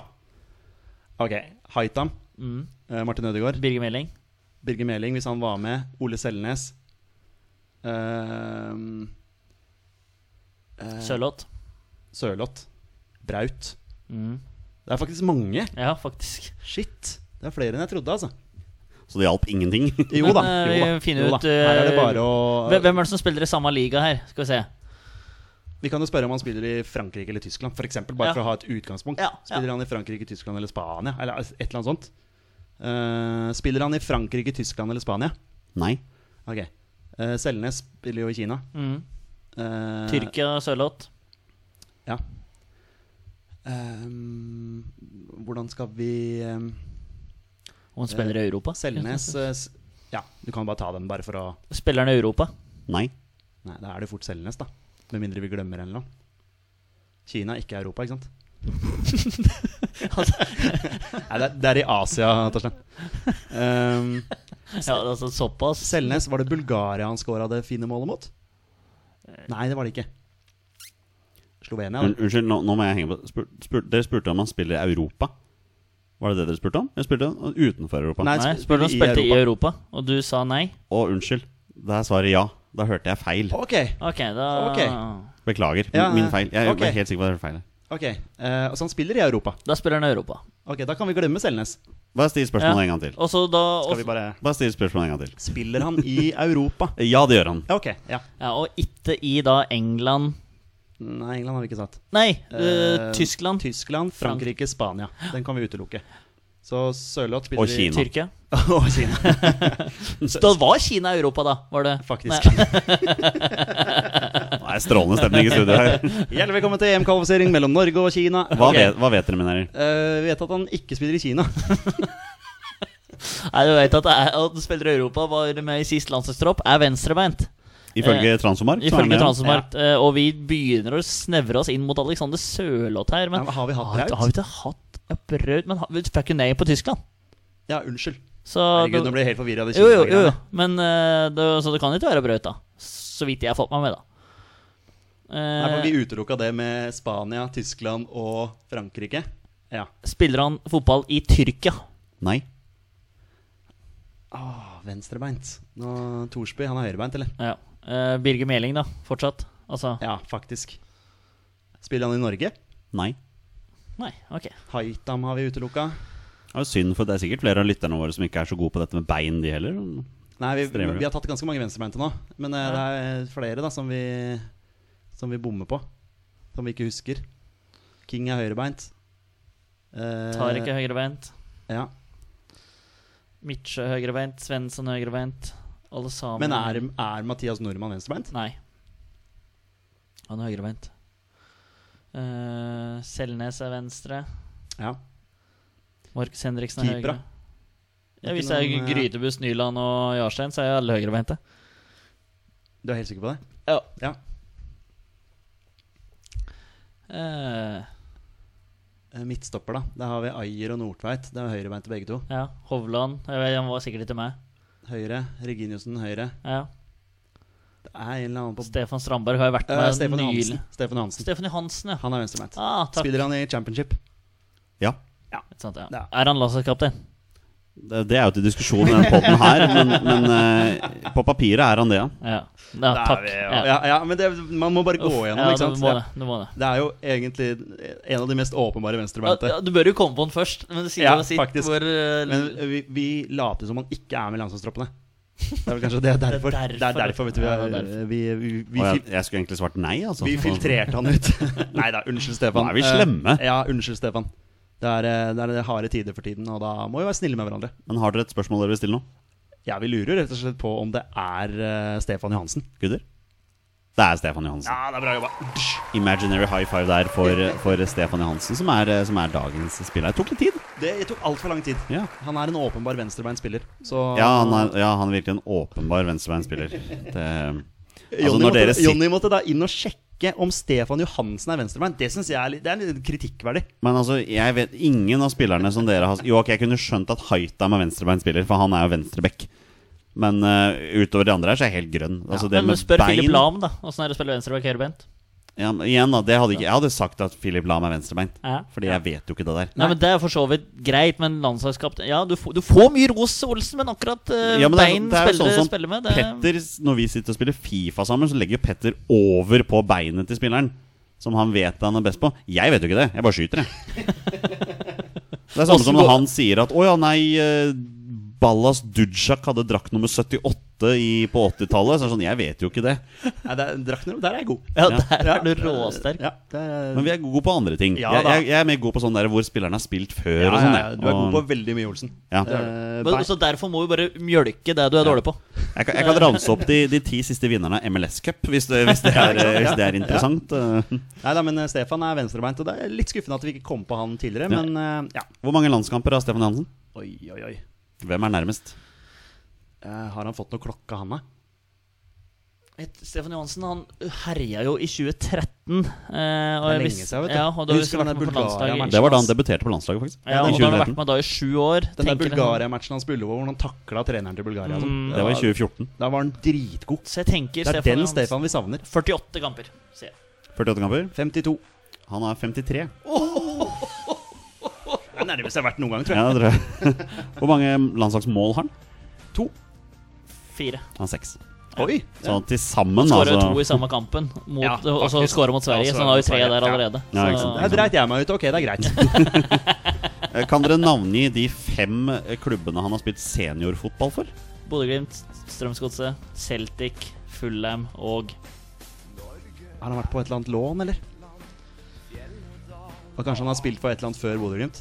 B: Ok. Haitam,
C: Mm.
B: eh, Martin Ødegaard,
C: Birger Meling.
B: Birger Meling, hvis han var med, Ole Selnes Ehm, Eh.
C: Sørloth.
B: Sørloth, Braut.
C: Mm.
B: Det er faktisk mange.
C: Ja, faktisk.
B: Shit. Det er flere enn jeg trodde, altså.
A: Så det hjalp ingenting.
B: Jo da.
C: Men, eh,
B: jo da,
C: vi finner
B: jo da.
C: ut, eh,
B: Her er det bare å
C: Hvem hvem er det som spiller i samme liga her? Skal vi se.
B: Vi kan jo spørre om han spiller i Frankrike eller Tyskland, f.eks. Bare
C: Ja.
B: for å ha et utgangspunkt.
C: Ja, ja.
B: Spiller han i Frankrike, Tyskland eller Spania? Eller altså, et eller annet sånt. Eh, spiller han i Frankrike, Tyskland eller Spania?
A: Nei.
B: Ok. Eh, Selnes spiller jo i Kina.
C: Mm.
B: Eh,
C: Tyrkia Sørloth.
B: Ja. Ehm, hvordan skal vi ehm,
C: Og han spiller i Europa.
B: Selnes eh, s- Ja, du kan bare ta den, bare for å
C: Spiller han i Europa?
A: Nei.
B: Nei, da er det fort Selnes, da. Med mindre vi glemmer en eller annen. Kina, ikke Europa, ikke sant? Altså, Nei, det, er, det er i Asia, Torstein. Ehm,
C: Ja, altså såpass.
B: Selnes, var det Bulgaria han scora det fine målet mot? Nei, det var det ikke. Slovenia,
A: Un
B: da.
A: unnskyld, nå, nå må jeg henge på. Spur spur dere spurte om han spiller i Europa. Var det det dere spurte om? Jeg spurte om utenfor Europa.
B: Nei.
C: Nei,
B: sp-
C: spør du
B: i
C: om spilte i
B: Europa.
C: Europa, og du sa nei?
A: Å, unnskyld. Da er svaret ja. Da hørte jeg feil.
B: Ok,
C: Ok, da
A: Beklager.
B: Ja,
A: min
B: ja.
A: feil. Jeg
B: Ok.
A: var helt sikker på at jeg hørte feil.
B: ok. Eh, så han spiller i Europa.
C: Da spiller han i Europa.
B: Ok, Da kan vi glemme Selnes.
A: Bare still spørsmålet en gang til.
C: Og så da og,
B: Skal vi bare
A: Bare still spørsmålet en gang til.
B: Spiller han i Europa?
A: Ja, det gjør han.
B: Ja, ok. ja
C: ja, og ikke i da England
B: Nei, England har vi ikke satt.
C: Nei, eh,
B: Eh,
C: Tyskland,
B: Tyskland, Frankrike, Spania. Den kan vi utelukke. Så Sørloth spiller
A: Og Kina.
C: Tyrkia.
B: i Og Kina,
C: Så da var Kina i Europa, da? Var det?
B: faktisk.
C: Nei,
A: Nei, Strålende stemning i studio her.
B: Hjertelig velkommen til EM-kvalifisering mellom Norge og Kina.
A: Hva,
B: Ok.
A: vet, hva vet dere, mine herrer?
B: Eh, vi vet at han ikke spiller i Kina.
C: Nei, du vet at, det er- at du spiller i Europa, var med i sist landslagstropp, er venstrebeint.
B: Eh,
A: Ifølge Transformark? så er han
C: Ifølge
A: det.
C: Transmarkt. eh, Og vi begynner å snevre oss inn mot Alexander Sørloth her. Men
B: Ja, men har vi hatt
C: har,
B: Braut?
C: har vi ikke hatt ja, Braut? Men har, vi fikk jo nei på Tyskland.
B: Ja, unnskyld.
C: Så
B: Herregud,
C: det-
B: nå blir jeg helt forvirra.
C: jo, jo, jo, jo. Men eh, det, Så det kan ikke være brøyt, da. Så vidt jeg har fått meg med, da. Eh,
B: Nei, for Vi utelukka det med Spania, Tyskland og Frankrike. Ja.
C: Spiller han fotball i Tyrkia?
A: Nei.
B: Ah, venstrebeint. Nå, Thorsby, han er høyrebeint, eller?
C: Ja. Eh, Birger Meling, da. Fortsatt. Altså
B: Ja, faktisk. Spiller han i Norge?
A: Nei.
C: Nei, ok.
B: Haitam har vi utelukka.
A: Det er jo synd, for det er sikkert flere av lytterne våre som ikke er så gode på dette med bein, de heller.
B: Nei, vi,
A: Strever du?
B: vi har tatt ganske mange venstrebeinte nå. Men eh, det er flere da som vi, som vi bommer på. Som vi ikke husker. King er høyrebeint. Eh,
C: Tar ikke høyrebeint.
B: Ja.
C: Midtsjø høyrebeint. Svensson høyrebeint. Alle sammen
B: Men er, er Mathias Nordmann venstrebeint?
C: Nei. Han er høyrebeint. Eh, Selnes er venstre.
B: Ja.
C: Markus Henriksen er
B: Keepere.
C: høyre. Ja, hvis jeg
B: Ikke noen,
C: er
B: eh,
C: Grytebust, Nyland og Jarstein, så er jeg alle høyrebeinte.
B: Du er helt sikker på det?
C: Ja.
B: Ja.
C: Eh,
B: Eh, Midtstopper, da. Der har vi Ayer og Nordtveit. Det er høyrebeinte begge to.
C: ja. Hovland. Jeg vet, han var sikkert ikke meg.
B: Høyre. Reginiussen høyre.
C: Ja.
B: Det er en eller annen på
C: Stefan Strandberg har jo vært med
B: Eh, Stefan
C: nylig.
B: Hansen. Stefan Hansen.
C: Stefan Johansen, ja.
B: Han er venstrebeint.
C: Ah, takk.
B: Spiller han i championship?
A: Ja.
C: Ikke sant, ja.
B: Ja.
C: Er han landslagskaptein?
A: Det det er jo til diskusjon i den poden her, men, men eh, på papiret er han det, ja.
C: Ja. ja
B: Der er
C: takk.
B: vi, ja. Ja, ja, men det, man må bare gå
C: Uff,
B: gjennom,
C: ja,
B: ikke sant?
C: Du må
B: Ja.
C: det. Du, må det.
B: Det er jo egentlig en av de mest åpenbare
C: Ja,
B: venstrebeinte.
C: ja, du bør jo komme på den først, men det sier
B: Ja,
C: jo sitt
B: faktisk.
C: hvor eh,
B: Men vi, vi later som han ikke er med i landslagstroppene. Det er vel kanskje det er
C: er
B: derfor. Det er
C: derfor.
B: derfor, vet du. Vi,
C: Ja,
B: er,
C: det er derfor.
B: vi, vi, vi,
A: Og jeg,
B: fil-
A: jeg skulle egentlig svart nei, altså.
B: vi filtrerte han ut. Nei da, unnskyld, Stefan.
A: Nå er vi
B: Eh,
A: slemme.
B: Ja, unnskyld, Stefan. Det er, eh, det er harde tider for tiden, og da må vi være snille med hverandre.
A: Men har dere et spørsmål dere vil stille nå?
B: Ja, Vi lurer jo rett og slett på om det er eh, Stefan Johansen.
A: Gutter? Det er Stefan Johansen.
B: Ja, det er bra jobba.
A: Imaginary high five der for, for Stefan Johansen, som er, eh, som er dagens spiller. Det tok litt tid.
B: Det tok altfor lang tid.
A: Ja.
B: Han er en åpenbar venstrebeint spiller. Så
A: Ja, han er, ja, han er virkelig en åpenbar venstrebeinspiller. Det, altså,
B: Jonny,
A: når dere
B: måtte,
A: sitter,
B: Jonny måtte da inn og sjekke om Stefan Johansen er venstrebeint. Det synes jeg er litt, det er litt kritikkverdig.
A: men altså, jeg vet ingen av spillerne som dere har Jo, ok, jeg kunne skjønt at Haitam er venstrebeinspiller, for han er jo venstreback. Men eh, utover de andre her så er jeg helt grønn. Altså, det
C: men
A: med
C: spør Philip
A: bein-
C: Lahm, da. Åssen er det å spille venstreback høyrebeint?
A: Ja, men igjen da, det hadde ikke, Jeg hadde sagt at Philip Lahm er venstrebeint.
C: Ja.
A: Fordi jeg vet jo ikke det der.
C: Nei, men Det er for så vidt greit, men landslagskaptein Ja, du, får- du får mye ros, Olsen, men akkurat eh,
A: Ja, men det er,
C: bein
A: det er jo
C: spiller,
A: sånn som
C: spiller med det,
A: Petter, når vi sitter og spiller Fifa sammen, så legger jo Petter over på beinet til spilleren. Som han vet han er best på. Jeg vet jo ikke det. Jeg bare skyter, jeg. Det er samme som når han sier at 'Å ja, nei, eh, Ballas Dujak hadde drakt nummer 78 i, på 80-tallet'. Så er det sånn, jeg vet jo ikke det.
B: Nei, det er, Drakner, der er jeg god.
C: Ja,
A: Ja.
C: der er du råsterk.
B: Ja, det er,
A: Men vi er gode på andre ting.
B: Ja,
A: jeg,
B: da.
A: jeg, jeg er mer god på sånn der hvor spilleren har spilt før
B: ja,
A: og
B: ja,
A: sånn.
B: ja,
A: jeg.
B: du er god på
A: Og-
B: veldig mye, Olsen.
A: ja.
B: Eh,
C: Men,
B: bein-
C: så Derfor må vi bare mjølke det du er dårlig på.
A: Jeg kan, jeg kan ranse opp de, de ti siste vinnerne av MLS Cup, hvis det, hvis det, er, hvis det er interessant.
B: Nei da, men eh, Stefan er venstrebeint, og det er litt skuffende at vi ikke kom på han tidligere,
A: Ja.
B: men eh, ja.
A: Hvor mange landskamper har Stefan Johansen?
B: Oi, oi, oi.
A: Hvem er nærmest?
B: Eh, har han fått noe klokka, han da?
C: Et- Stefan Johansen han herja jo i 2013. Eh, og
B: Det er
C: jeg
B: lenge
C: visste-
B: siden, vet du.
C: Ja, og
B: Jeg
C: da har
B: husker
C: vært
B: den
C: med
B: der
C: på landslaget
B: Bulgaria-matchen.
C: i-
A: Det var da han debuterte på landslaget, faktisk.
C: Ja,
A: I
C: og da har han
A: 2013.
C: vært med da i sju år.
B: Den der
C: Tenker jeg.
B: Bulgaria-matchen han spiller over, hvor han takla treneren til Bulgaria. og sånn.
A: Det var i 2014.
B: Da var han dritgod.
C: Så jeg tenker
B: Det er
C: Stefan
B: den
C: Johansen.
B: Stefan vi savner.
C: 48 kamper, sier jeg.
A: 48 kamper.
B: 52.
A: Han er 53.
B: Det er nærmest jeg har vært noen gang, tror jeg.
A: Ja, det tror jeg. Hvor mange landslagsmål har han?
B: To.
C: Fire.
A: Han har seks.
B: Oi!
A: Så til sammen,
C: Skåra
A: altså
C: to i samme kampen, mot,
B: Ja,
C: og så
B: faktisk.
C: skåra mot Sverige,
B: Ja,
C: så han har jo
B: skåret mot
C: tre
B: Sverige.
C: der
B: Ja.
C: allerede.
A: Ja, ikke
C: så,
A: sant.
B: Der dreit jeg meg ut. Ok, det er greit.
A: Eh, Kan dere navngi de fem eh, klubbene han har spilt seniorfotball for?
C: Bodø-Glimt, Strømsgodset, Celtic, Fulham og
B: Har han vært på et eller annet lån, eller? Og kanskje han har spilt for et eller annet før Bodø-Glimt?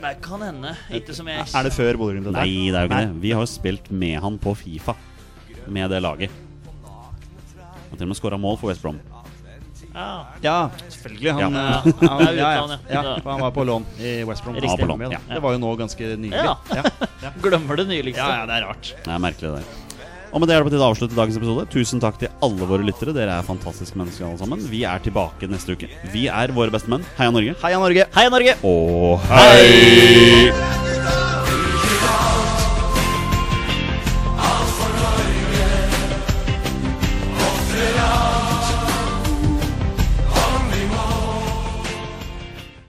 C: Nei, kan hende. Ikke som jeg
B: Er det før Bodø-Glimt? dette her?
A: Nei, det er jo ikke det. Vi har jo spilt med han på Fifa, med det laget. Og til og med skåra mål for West Brom.
C: Ja.
B: Ja, selvfølgelig. Han,
A: Ja.
B: eh, han,
C: Ja,
B: ja, ja,
C: utlandet, ja.
B: ja, for han var på lån i West Brom.
C: Riktig.
A: Han var på lån,
B: Ja,
A: ja.
B: Det var jo nå ganske nylig.
C: Ja.
B: Ja.
C: Glemmer det nyligste.
B: Ja, ja, det er rart.
A: Det er merkelig, det der. Og med det er det på tide å avslutte dagens episode. Tusen takk til alle våre lyttere. Dere er fantastiske mennesker alle sammen. Vi er tilbake neste uke. Vi er våre beste menn. Heia Norge.
B: Heia Norge!
C: Heia Norge!
A: Og